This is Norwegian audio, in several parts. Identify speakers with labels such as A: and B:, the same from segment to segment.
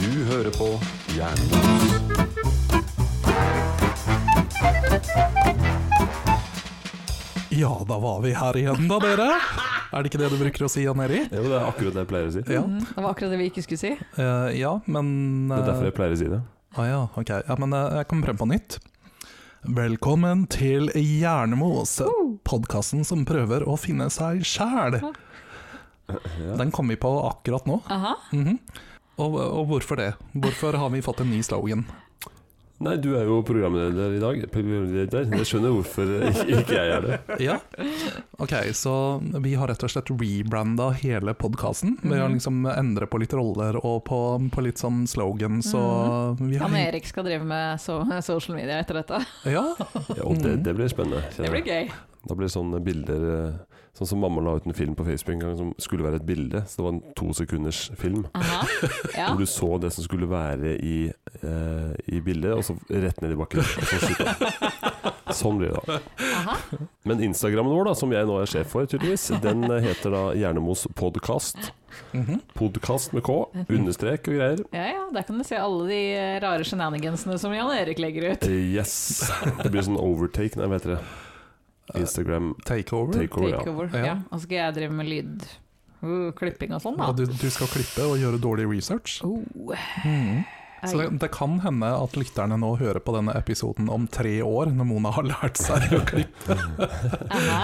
A: Du hører på Jernbanen.
B: Ja, da var vi her igjen da, dere. Er det ikke det du bruker å si, Jan Erik?
A: Jo, det er akkurat det jeg pleier å si.
B: Ja,
C: Mm, Det var akkurat det vi ikke skulle si.
B: eh, ja men
A: Det er derfor
B: eh,
A: jeg pleier å si det.
B: ah, ja, ok. ja, men eh, jeg kom frem på nytt. Velkommen til Hjernemos, podkasten som prøver å finne seg sjæl. Den kom vi på akkurat nå.
C: Aha.
B: Mhm. og, og hvorfor det? Hvorfor har vi fått en ny slogan?
A: Nei, du er jo programleder i dag. Programleder. Jeg skjønner hvorfor ikke jeg er det.
B: Ja. Ok, så vi har rett og slett rebranda hele podkasten. Vi har liksom endret på litt roller og på, på litt sånn slogan, så vi har
C: Jan Erik skal drive med so social media etter dette.
B: Ja,
A: Ja, og det, det blir spennende. kjenner
C: Det
A: jeg.
C: blir gøy.
A: Da blir det sånne bilder eh, Sånn som mamma la ut en film på Facebook en gang som skulle være et bilde. Så det var en to sekunders film.
C: Aha. Ja.
A: Hvor du så det som skulle være i, eh, i bildet, og så rett ned i bakken. Og så skyte av. Sånn blir det da.
C: Aha.
A: Men Instagrammen vår, da, som jeg nå er sjef for, tydeligvis, den eh, heter da Hjernemos podkast.
B: Mhm.
A: Podkast med K, understrek og greier.
C: Ja, ja, der kan du se alle de eh, rare shenanigansene som Jan Erik legger ut.
A: Eh, Yes! Det blir sånn overtake, nei, hva heter det? Instagram
B: takeover.
A: takeover, ja.
C: Takeover.
B: Ja.
C: Ja. Og så skal jeg drive med lyd. Uh, klipping og sånn,
B: Ja,
C: da.
B: du, du skal klippe og gjøre dårlig research.
C: Oh,
B: Mhm. Så
C: ei.
B: det, det kan hende at lytterne nå hører på denne episoden om tre år, når Mona har lært seg å klippe.
C: Aha.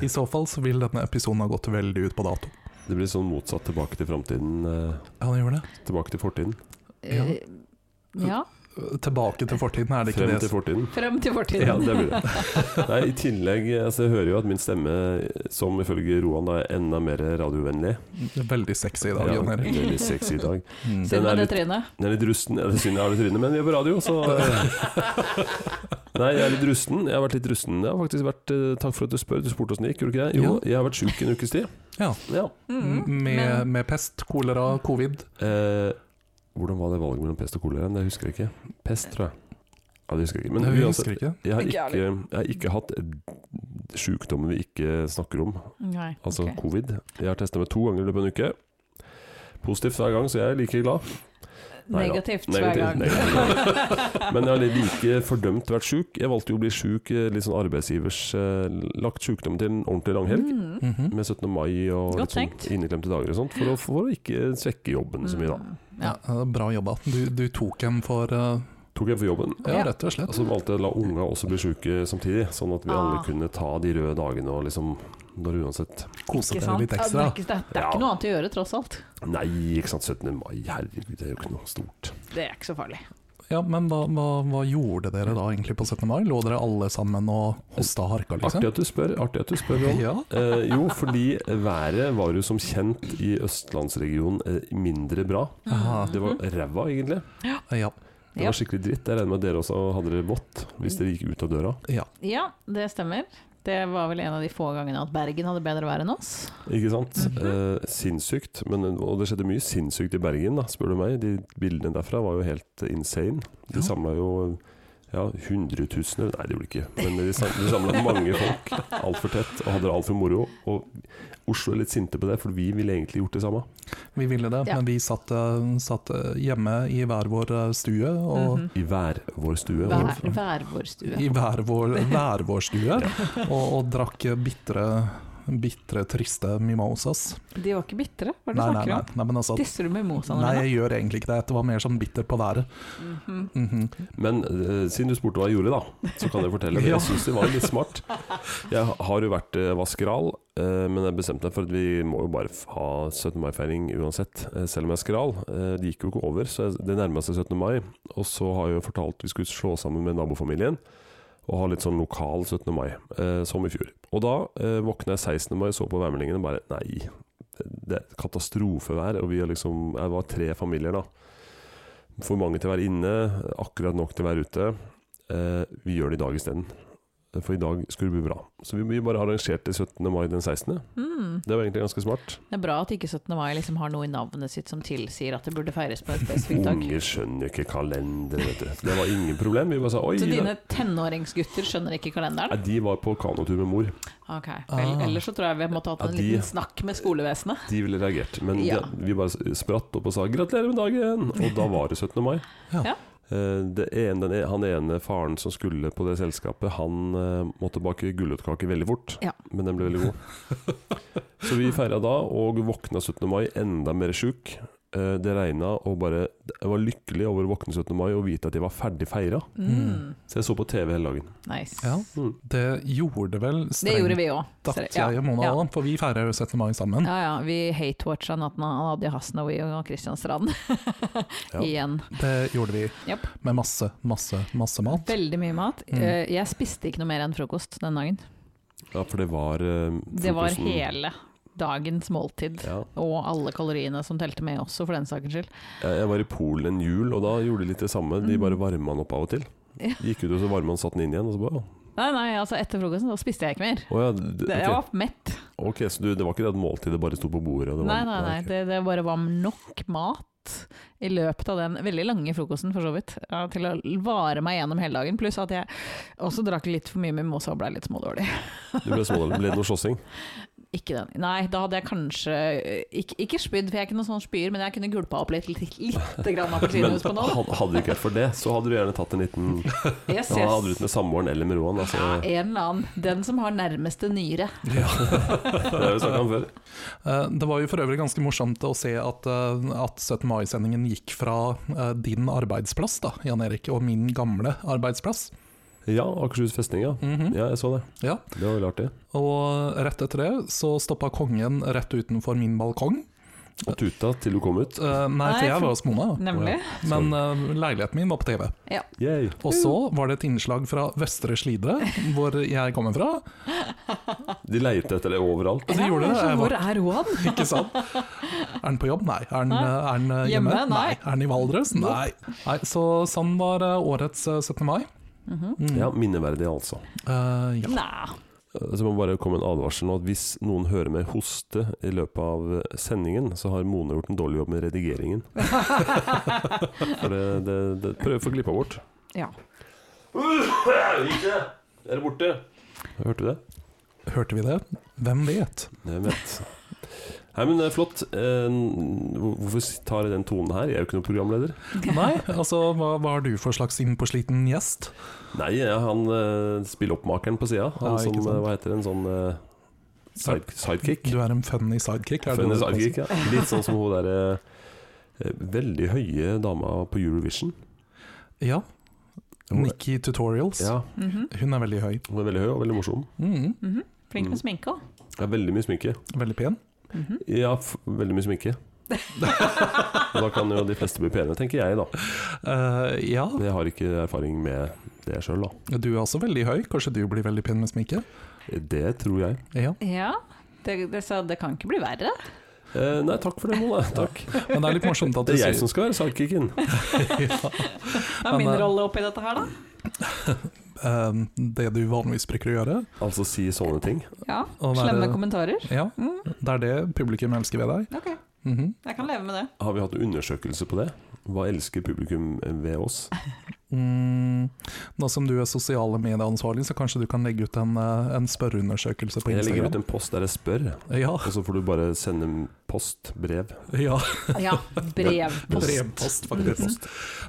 B: I så fall så vil denne episoden ha gått veldig ut på dato.
A: Det blir sånn motsatt tilbake til framtiden. eh,
B: Ja, den gjør det.
A: Tilbake til fortiden.
B: Ja.
C: Eh, Ja.
B: Tilbake til fortiden, er det ikke
A: Frem
B: det?
A: til fortiden.
C: Frem til
A: Ja,
C: fortiden.
A: det blir det. Nei, I tillegg altså, Jeg hører jo at min stemme, som ifølge Roan, da, er enda mer radiovennlig.
B: Veldig sexy i dag,
A: Ja,
B: Jan Erik.
A: veldig sexy i dag.
B: Mm.
C: Synd
A: Den er
C: med det
A: litt-
C: trynet.
A: Jeg er litt rusten. Ja, det er synd jeg har det trynet, men vi er på radio, så eh. Nei, jeg er litt rusten. Jeg har vært litt rusten. Jeg har faktisk vært eh, Takk for at du spør. Du spurte åssen det gikk, gjorde du ikke det? Jo,
B: Ja.
A: jeg har vært sjuk en ukes tid.
B: Ja.
A: ja.
C: Mm,
B: Med,
C: men-
B: med pest, kolera, covid.
A: Eh, hvordan var det valget mellom pest og kolera? Det husker jeg ikke. Pest, tror jeg. Ja, det husker jeg ikke. Men
B: Nei, vi
A: uansett,
B: husker ikke.
A: jeg har
C: Ikke
A: ikke,
C: jeg
A: jeg har ikke hatt sjukdommen vi ikke snakker om.
C: Nei,
A: Altså
C: ok.
A: covid. Jeg har testa meg to ganger i løpet av en uke. Positivt hver gang, så jeg er like glad. Nei da.
C: Negativt hver
A: Negativt,
C: gang.
A: negativt. Men jeg har like fordømt vært sjuk. Jeg valgte jo å bli sjuk, eh, litt sånn arbeidsgivers eh, Lagt sjukdommen til en ordentlig langhelg.
C: Mm.
B: Mhm.
A: Med 17. mai og
C: Godt
A: litt sånn
C: tenkt.
A: inneklemte dager og sånt, for å, for å ikke svekke jobben så mye, da.
C: Ja.
B: Ja. eh, bra jobba. Du, du tok en for eh,
A: Tok jeg for jobben.
B: Ja,
C: Ja.
B: rett og
A: Og
B: slett.
A: så valgte jeg å la unga også bli sjuke samtidig, sånn at vi alle
C: Ah.
A: kunne ta de røde dagene og liksom når uansett
B: Kose
C: Ikke
B: deg
C: sant?
B: litt
C: Ja,
B: ekstra.
C: Det er, ikke, det er, det er
A: Ja.
C: ikke noe annet å gjøre, tross alt.
A: Nei, ikke sant, 17. mai, herregud, det er jo ikke noe stort.
C: Det er ikke så farlig.
B: Ja, Men hva, hva, hva gjorde dere da egentlig på 17. mai? Lå dere alle sammen og hosta og harka, liksom?
A: Artig at du spør, artig at du spør. Ron.
B: Ja.
A: Eh, jo, fordi været var jo som kjent i østlandsregionen eh, mindre bra.
B: Aha,
C: Mhm.
A: Det var ræva, egentlig.
B: ja.
A: Det
C: Ja.
A: var skikkelig dritt. Jeg regner med at dere også hadde det vått hvis dere gikk ut av døra.
B: ja.
C: Ja, det stemmer. Det var vel en av de få gangene at Bergen hadde bedre vær enn oss.
A: Ikke sant? eh, sinnssykt. Men, og det skjedde mye sinnssykt i Bergen, da, spør du meg. De bildene derfra var jo helt insane. De
B: Ja.
A: samla jo ja, hundretusener Nei, det gjorde de ikke. Men de sam- de samla mange folk altfor tett og hadde det altfor moro. Og Oslo er litt sinte på det, for vi ville egentlig gjort det samme.
B: Vi ville det,
C: Ja.
B: men vi satt, eh, satt eh, hjemme i hver vår eh, stue. Og
C: Mhm.
A: I hver vår stue.
C: Vær, vær vår stue.
B: I hver vår, hver vår stue. Og, og drakk eh, bitre, bitre triste mimosas.
C: De var ikke bitre, hva er det du
B: Nei, nei,
C: snakker
B: nei,
C: om?
B: nei, men altså
C: Disser du med Mosan?
B: Nei, jeg gjør egentlig ikke det. Det var mer sånn bitter på været. Mhm.
A: Men eh, siden du spurte hva jeg gjorde, da, så kan jeg fortelle.
B: Ja.
A: Jeg syns det var litt smart. Jeg har jo vært eh, vaskeral, eh, men jeg bestemte meg for at vi må jo bare f- ha 17. mai-feiring uansett. eh, selv om jeg er skral. Eh, det gikk jo ikke over, så jeg, det nærma seg 17. mai. Og så har jeg jo fortalt vi skulle slå sammen med nabofamilien. Og ha litt sånn lokal 17. mai, eh, som i fjor. Og da eh, våkna jeg 16. mai og så på værmeldingen og bare Nei, det er katastrofevær. Og vi er liksom Jeg var tre familier, da. For mange til å være inne, akkurat nok til å være ute. Eh, vi gjør det i dag isteden. for i dag skulle det bli bra. Så vi- vi bare arrangerte 17. mai den 16.
C: Mm.
A: Det var egentlig ganske smart.
C: Det er bra at ikke 17. mai liksom har noe i navnet sitt som tilsier at det burde feires på et spesifikt dag.
A: Unge skjønner ikke kalender, vet du. Det var ingen problem. Vi bare sa oi.
C: Så
A: det-
C: dine tenåringsgutter skjønner ikke
A: Nei,
C: kalenderen?
A: de var på kanotur med mor.
C: Ok, Vel,
B: Ah.
C: Ellers så tror jeg vi måtte hatt
A: Ja,
C: en
A: de-
C: liten snakk med skolevesenet.
A: De ville reagert. Men
C: Ja.
A: de, vi bare s- spratt opp og sa 'gratulerer med dagen', og da var det 17. mai.
B: Ja.
C: Ja.
A: Eh, Det ene, den e- han ene faren som skulle på det selskapet, han eh, måtte bake gulrotkaker veldig fort.
C: Ja.
A: Men den ble veldig god. Så vi feira da, og våkna 17. mai enda mer sjuk. Eh, Det regna, og bare Jeg var lykkelig over å våkne 17. mai og vite at jeg var ferdig feira.
C: Mm.
A: Så jeg så på TV hele dagen.
C: Nice.
B: Ja,
A: Mm.
B: det gjorde vel
C: Det gjorde vi òg.
B: strengt jeg og Mona
C: ja.
B: òg, for vi feirer jo 17. mai sammen.
C: Ja, ja, vi hate-watcha natten av Nadia Hasnowy og Christian Strand.
A: Ja.
C: Igjen.
B: Det gjorde vi
C: Japp.
B: med masse, masse, masse mat.
C: Veldig mye mat.
B: Mm.
C: Eh, Jeg spiste ikke noe mer enn frokost den dagen.
A: Ja, for det var eh,
C: Det var
A: frokosten.
C: hele dagens måltid.
A: ja.
C: Og alle kaloriene som telte med også, for den saks skyld.
A: Jeg jeg var i Polen en jul, og da gjorde de litt det samme. De bare varma den opp av og til.
C: Mm. Ja.
A: Gikk ut og så varma den, satte den inn igjen. Og så bare,
C: Nei, nei, altså etter frokosten da spiste jeg ikke mer.
A: å ja,
C: Det-
A: d-
C: Jeg
A: ok.
C: var mett.
A: ok, så du, det var ikke det at måltidet bare sto på bordet? Og det var,
C: Nei, nei, nei.
A: ok.
C: Det, det bare var nok mat i løpet av den veldig lange frokosten, for så vidt. ja, Til å vare meg gjennom hele dagen. Pluss at jeg også drakk litt for mye mimosa og blei litt smådårlig.
A: Du ble smådårlig. Ble det noe slåssing?
C: Ikke den. Nei, da hadde jeg kanskje eh, Ikke, ikke spydd, for jeg er ikke noen sånn spyer, men jeg kunne gulpa opp litt, litt, litt grann
A: Men
C: appelsinjuice på noen.
A: had- hadde det ikke vært for det, så hadde du gjerne tatt en liten
C: Yes,
A: ja, Hadde du
C: yes.
A: ut med samboeren eller med Roan. Altså,
C: Ja, en eller annen. Den som har nærmeste nyre.
A: det har vi snakka om før.
B: Eh, Det var jo for øvrig ganske morsomt å se at, eh, at 17. mai-sendingen gikk fra eh, din arbeidsplass, da, Jan Erik, og min gamle arbeidsplass.
A: Ja, Akershus festning, ja.
C: Mm.
B: Mhm.
A: Ja, jeg så det.
B: Ja.
A: Det var veldig artig.
B: Og rett etter det så stoppa kongen rett utenfor min balkong.
A: Og tuta til du kom ut.
B: Eh, nei,
C: Nei,
B: for jeg
C: for-
B: var hos Mona, da.
C: Nemlig.
B: men eh, leiligheten min var på TV.
A: Yay.
B: Og så var det et innslag fra Vestre Slidre, hvor jeg kommer fra.
A: De leite etter det overalt.
B: Og Altså, de gjorde det.
C: Ja, så
B: Jeg
C: hvor
B: var,
C: er Roan?
B: ikke sant? Er han på jobb? Nei. Er han,
C: Nei.
B: eh, er han eh,
C: Hjemme?
B: hjemme?
C: Nei.
B: Er han i Valdres? Nei. Nei. Så sånn var eh, årets eh, 17. mai.
C: Mhm.
B: Mm.
A: Ja, minneverdig, altså.
B: Eh, ja.
C: Nei.
A: Eh, Så må bare komme en advarsel nå at hvis noen hører meg hoste i løpet av eh, sendingen, så har Mone gjort en dårlig jobb med redigeringen. For det, det, det prøver å få klippa bort.
C: Ja.
A: Ikke! Er det borte? Hørte du det?
B: Hørte vi det? Hvem vet?
A: Jeg vet. Nei, men det er flott. Eh, hvor- Hvorfor tar jeg den tonen her? Jeg er jo ikke noen programleder.
B: Nei, altså hva, hva har du for slags innpåsliten gjest?
A: Nei, jeg er han eh, spilloppmakeren på sida. Han
B: Ja,
A: som,
B: ikke
A: eh,
B: sant.
A: hva heter det, en sånn eh, side, sidekick?
B: Du er en funny sidekick. Er det
A: Funny
B: det du kaller
A: sidekick, ja. Litt sånn som hun derre veldig høye dama på Eurovision.
B: det? Ja.
A: Hun-
B: Nikki Tutorials.
A: Ja,
C: Mhm,
B: Hun er veldig høy.
A: hun er veldig høy og veldig morsom.
B: Mm, Mhm.
C: mhm. Flink
A: Mm.
C: med sminke òg.
A: Ja, veldig mye sminke.
B: veldig pen.
A: Ja, f veldig mye sminke. da kan jo de fleste bli pene, tenker jeg, da.
B: Eh, ja,
A: Men jeg har ikke erfaring med det sjøl, da.
B: du er også veldig høy. Kanskje du blir veldig pen med sminke?
A: Det tror jeg.
B: Ja.
C: Ja. Det, det, så det kan ikke bli verre.
A: Eh, nei, takk for det, Mona. Takk.
B: Men det er litt morsomt at
A: Det
B: du
A: er
B: sier
A: jeg som skal være sidekicken.
C: Hva er min
B: Men, eh,
C: rolle oppi dette her, da?
B: eh, det du vanligvis bruker å gjøre.
A: Altså si sånne ting.
C: Ja,
B: Å være-
C: Slemme kommentarer?
B: Ja,
C: Mm,
B: det er det publikum elsker ved deg.
C: ok,
B: Mhm.
C: jeg kan leve med det.
A: Har vi hatt undersøkelse på det? Hva elsker publikum eh, ved oss?
B: mm, nå som du er sosiale medieansvarlig, så kanskje du kan legge ut en, eh, en spørreundersøkelse på
A: Jeg legger ut
B: Instagram?
A: en post der jeg spør,
B: Ja,
A: og så får du bare sende en post, brev.
B: ja.
C: Ja, brevpost.
B: Brevpost, faktisk.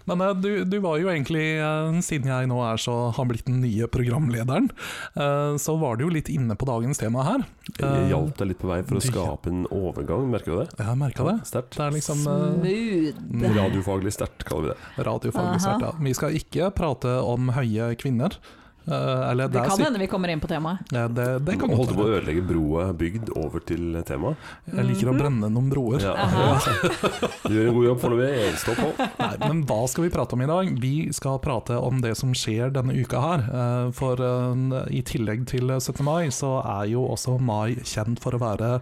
B: Men eh, du, du var jo egentlig, eh, siden jeg nå er så, har blitt den nye programlederen, eh, så var du jo litt inne på dagens tema her.
A: Jeg Eh, hjalp deg litt på vei for å
B: du-
A: skape en overgang, merker du det?
B: Jeg merka det.
A: Sterkt.
B: Det er liksom eh,
C: Smooth.
A: Radiofaglig sterkt, kaller vi det.
B: radiofaglig
C: Aha.
B: svært, ja. Vi skal ikke prate om høye kvinner. eh, eller
C: Det
B: er
C: kan
B: syk-
C: hende vi kommer inn på temaet.
B: Ja, det, det kan
A: Man
B: godt
A: holdt på å
B: være.
A: ødelegge broa bygd over til temaet.
B: Jeg liker å brenne noen broer.
A: Ja.
C: Aha.
A: Du gjør en god jobb foreløpig. Jeg står på.
B: Nei, men hva skal vi prate om i dag? Vi skal prate om det som skjer denne uka her. eh, For eh, i tillegg til 17. mai, så er jo også mai kjent for å være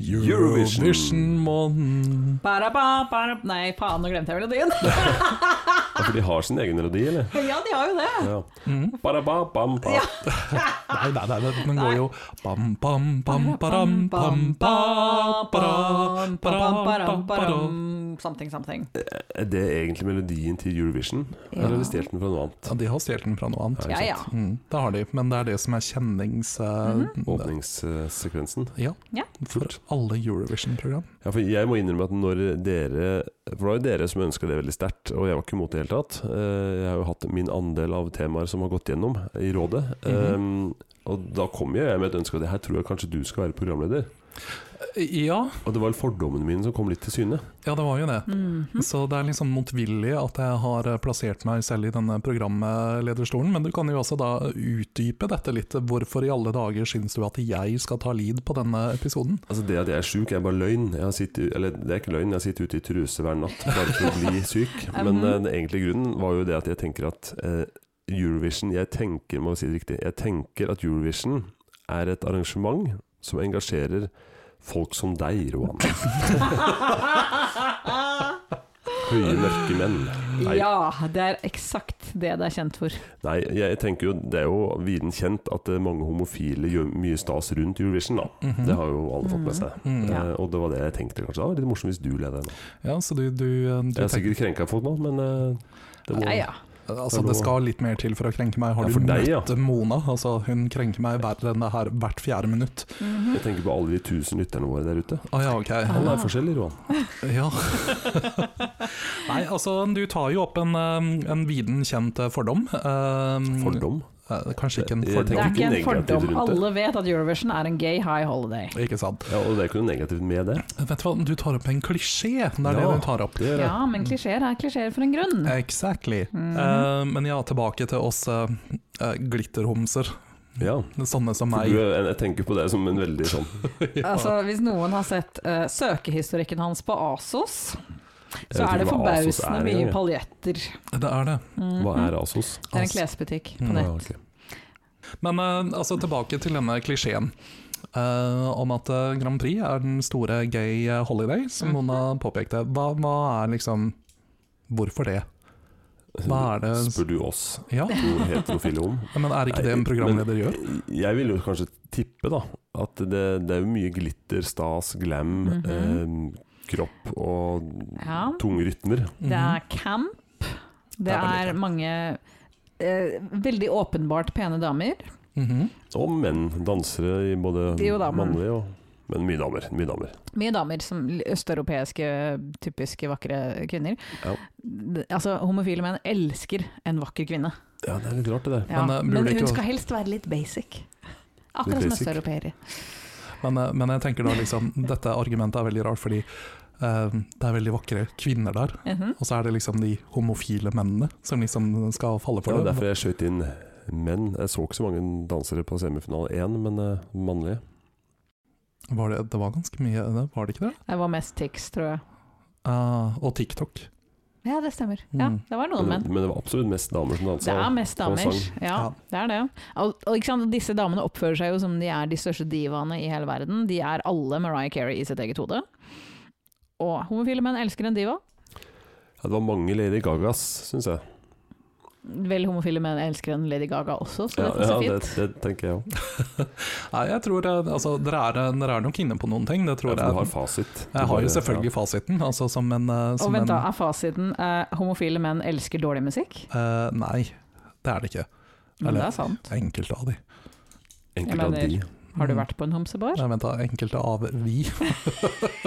A: Eurovision.
B: Eurovision-måneden.
C: Bara, ba, bara. Nei, faen, nå glemte jeg melodien.
A: Ja, for de har sin egen melodi, eller?
C: Ja, de har jo det.
A: Ja.
B: Mm.
A: Ba-da-ba-bam-ba.
C: Ja.
B: Nei, nei, nei, den går jo bam, bam, bam, param, bam, ba, para, param,
C: Param,
B: param, param.
C: param, Something, something.
A: Er det egentlig melodien til Eurovision?
C: Ja.
A: Eller har de stjålet den fra noe annet?
B: Ja, de har stjålet den fra noe annet.
C: Ja, ja.
B: Mm, det har de, men det er det som er kjennings... eh,
C: Mhm.
A: Åpningssekvensen.
B: Ja,
C: Ja.
B: for alle Eurovision-program.
A: Ja, for jeg må innrømme at når dere For det var jo dere som ønska det veldig sterkt, og jeg var ikke imot det i det hele tatt. Eh, Jeg har jo hatt min andel av temaer som har gått gjennom i rådet.
B: Mhm.
A: Eh, Og da kom jo jeg med et ønske om at her tror jeg kanskje du skal være programleder.
C: Eh,
B: Ja,
A: Og det var fordommene mine som kom litt til syne.
B: ja, det var jo det.
C: Mhm.
B: Så det er liksom motvillig at jeg har eh, plassert meg selv i denne programlederstolen, men du kan jo også da utdype dette litt. Hvorfor i alle dager syns du at jeg skal ta lead på denne episoden?
A: Altså Det at jeg er sjuk, er bare løgn. Jeg har sittet, eller det er ikke løgn, jeg sitter ute i truse hver natt bare for å bli syk. Men eh, den egentlige grunnen var jo det at jeg tenker at eh, Eurovision Jeg tenker, må jeg si det riktig, jeg tenker at Eurovision er et arrangement som engasjerer folk som deg, Roan. Høye, mørke menn. Nei,
C: Ja, det er eksakt det det er kjent for.
A: nei, jeg tenker jo det er jo viden kjent at eh, mange homofile gjør mye stas rundt Eurovision, da.
B: Mhm.
A: Det har jo alle fått med seg.
B: Mm.
C: Ja.
A: Eh, og det var det jeg tenkte kanskje. Det hadde vært litt morsomt hvis du leda en.
B: Ja, så du, du, eh, du
A: Jeg har sikkert krenka folk nå, men eh, det må
C: Ja, ja.
B: Altså,
A: Hallo.
B: det skal litt mer til for å krenke meg. Har
A: Ja,
B: du
A: for deg, ja.
B: møtt Mona? Altså, hun krenker meg verre enn det her hvert fjerde minutt.
C: Mhm.
A: Jeg tenker på alle de tusen lytterne våre der ute.
B: Å ja, ok.
A: Alle er forskjellige, Roan.
B: Ja. Nei, altså, du tar jo opp en, eh, en viden kjent eh, fordom. Eh,
A: Fordom.
B: eh, Kanskje ikke en
A: Jeg tenker-
C: Det
B: fordom.
C: er ikke en
A: Negativt rundt
C: fordom.
A: det.
C: Alle vet at Eurovision er en gay high holiday.
B: Ikke sant.
A: Ja, og det er ikke noe negativt med det.
B: Vet du hva, du tar opp en klisjé. Det
A: Ja.
B: er det du tar opp.
A: det gjør jeg.
C: Ja, men klisjeer er klisjeer for en grunn.
B: Exactly.
C: Mhm.
B: Eh, men ja, tilbake til oss eh, eh, glitterhomser.
A: ja.
B: Sånne som
A: For
B: meg.
A: du, er- jeg tenker på deg som en veldig sånn
C: Altså, hvis noen har sett eh, søkehistorikken hans på ASOS,
A: Jeg
C: så
A: vet
C: er det
A: ikke hva Asos
C: forbausende
A: er
C: mye
A: engang, jeg.
C: paljetter.
B: Det er det.
C: Mhm.
A: Hva er Asos?
C: Det er en
B: Asos?
C: klesbutikk på
B: Mm.
A: Ja,
C: nett.
A: ok.
B: Men eh, altså tilbake til denne klisjeen eh, om at eh, Grand Prix er den store gay eh, holiday, som Mona påpekte. Hva, hva er liksom Hvorfor det? Hva er det-
A: Spør du oss
B: Ja,
A: to heterofile om?
B: Men er ikke det
A: Nei,
B: en programleder gjør?
A: Jeg vil jo kanskje tippe da at det, det er jo mye glitter, stas, glam,
C: Mhm.
A: eh, kropp og
C: Ja.
A: tunge rytmer.
C: Det er camp. Det
B: Mhm. er veldig
C: er
B: camp.
C: mange eh, veldig åpenbart pene damer.
B: Mhm. Mhm.
A: Og menn. Dansere i både
C: Det er jo damer.
A: mannlige og Men mye damer. Mye damer.
C: Mye damer som østeuropeiske, typiske vakre kvinner.
A: Ja.
C: D- Altså, homofile menn elsker en vakker kvinne.
A: Ja, det er litt rart det der.
C: Ja.
B: Men, eh,
C: Men,
B: burde ikke-
C: hun skal helst være litt basic.
A: Litt
C: Akkurat som
A: basic.
C: østeuropeere.
B: Men, eh, men jeg tenker da liksom Dette argumentet er veldig rart, fordi eh, det er veldig vakre kvinner der.
C: Mhm.
B: Og så er det liksom de homofile mennene som liksom skal falle for
A: Det var
B: det.
A: derfor jeg skjøt inn menn. Jeg så ikke så mange dansere på semifinale én, men eh, mannlige.
B: Var det, det var ganske mye, det, var det ikke det?
C: Det var mest tics, tror jeg.
B: Eh, og TikTok.
C: Ja, det stemmer. Ja,
B: Mm.
C: det var noen
A: Men,
C: menn.
A: men det var absolutt mest damer som
C: Det
A: dansa.
C: er mest
A: og
C: damer.
A: sang.
C: Ja,
B: Ja.
C: det er det. Og, og ikke sant, disse damene oppfører seg jo som de er de største divaene i hele verden. De er alle Mariah Carey i sitt eget hode. Og homofile menn elsker en diva.
A: Ja, det var mange Lady Gagas, syns jeg.
C: Vel, homofile menn elsker en Lady Gaga også, så
A: Ja,
C: det passer
A: ja, det,
C: fint.
A: det tenker jeg òg.
B: Nei, jeg tror eh, altså, dere, er, dere er nok inne på noen ting. Det tror
A: Du
B: jeg.
A: har fasit. Du
B: Jeg har jo
A: bare-
B: selvfølgelig fasiten. Altså som en, eh,
C: Og
B: som
C: vent da,
B: en
C: er fasiten eh, homofile menn elsker dårlig musikk?
B: eh, Nei, det er det ikke.
C: Men
B: Eller-
C: det er sant.
B: Enkelte av de.
A: Ja.
C: Jeg
A: Enkelte av de.
C: mener- Har du
B: Mm.
C: vært på en homsebar?
B: Nei, vent da, enkelte av vi.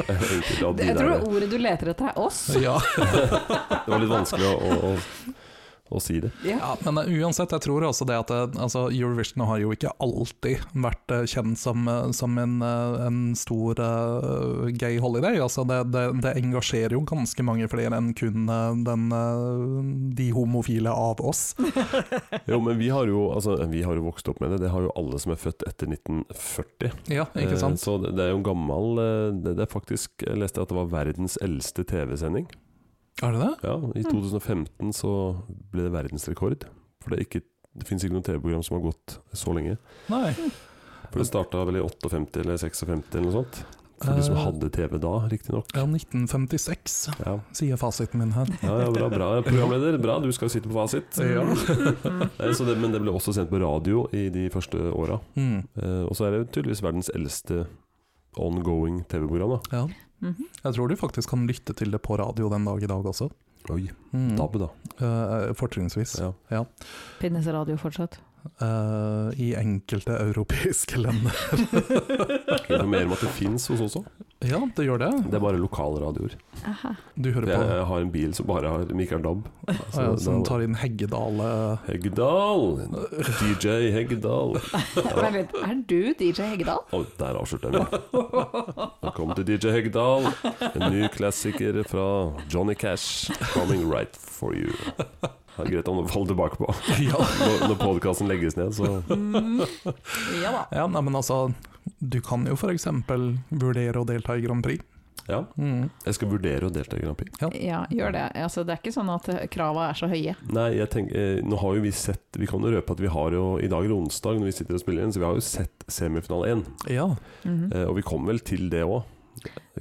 A: Enkelte av de
C: Jeg tror
A: der.
C: ordet du leter etter er oss.
B: ja.
A: Det var litt vanskelig å, å, å, å si det.
C: Ja.
B: ja, Men eh, uansett, jeg tror også det at eh, altså, Eurovision har jo ikke alltid vært eh, kjent som, eh, som en, eh, en stor eh, gay holiday. Altså, det, det, det engasjerer jo ganske mange flere enn kun eh, den, eh, de homofile av oss.
A: Jo, men vi har jo, altså, vi har jo vokst opp med det. Det har jo alle som er født etter 1940.
B: Ja,
A: Eh,
B: ikke sant?
A: Så det, det er jo en gammel eh, det, det er faktisk, Jeg leste at det var verdens eldste TV-sending.
B: Er det det?
A: Ja, i 2015 så ble det verdensrekord. For det, er ikke, det finnes ikke noe TV-program som har gått så lenge.
B: Nei.
A: For det starta vel i 58 eller 56 eller noe sånt. For de som
B: Eh,
A: hadde TV da, riktignok.
B: Ja, 1956,
A: Ja.
B: sier fasiten min her.
A: Ja, ja, bra, bra. Programleder, bra. Du skal jo sitte på fasit.
B: Ja.
A: Eh, Så det, men det ble også sendt på radio i de første åra.
B: Mm.
A: Eh, og så er det tydeligvis verdens eldste ongoing TV-program. da.
B: ja.
C: Mhm.
B: Jeg tror du faktisk kan lytte til det på radio den dag i dag også.
A: Oi,
B: Mm.
A: DAB, da.
B: Eh, fortrinnsvis.
A: Ja.
C: Finnes radio fortsatt?
B: Eh, I enkelte europeiske land.
A: Jeg informerer om at det fins hos oss også.
B: ja, det gjør det.
A: Det er bare lokalradioer.
C: Aha.
B: Du hører
A: Jeg,
B: på
A: jeg har en bil som bare har Mikael DAB.
B: eh,
A: Så
B: som
A: da-
B: tar inn Heggedale
A: Heggedal! DJ Heggedal.
C: Vent litt, er du DJ Heggedal?
A: Å, der avslørte jeg meg. Velkommen til DJ Heggedal. En ny klassiker fra Johnny Cash. 'Coming Right For You'. Det er greit å falle tilbake på.
B: ja.
A: Når, når podkasten legges ned, så
C: Mm. Ja da.
B: ja, nei, men altså Du kan jo f.eks. vurdere å delta i Grand Prix.
A: Ja.
B: Mm.
A: Jeg skal vurdere å delta i Grand Prix.
C: Ja, gjør det. Altså, det er ikke sånn at eh, krava er så høye.
A: Nei, jeg tenker, eh, nå har jo vi sett Vi kan jo røpe at vi har jo I dag er det onsdag når vi sitter og spiller inn, så vi har jo sett semifinale én.
B: Ja.
C: Mhm.
A: Eh, og vi kom vel til det òg.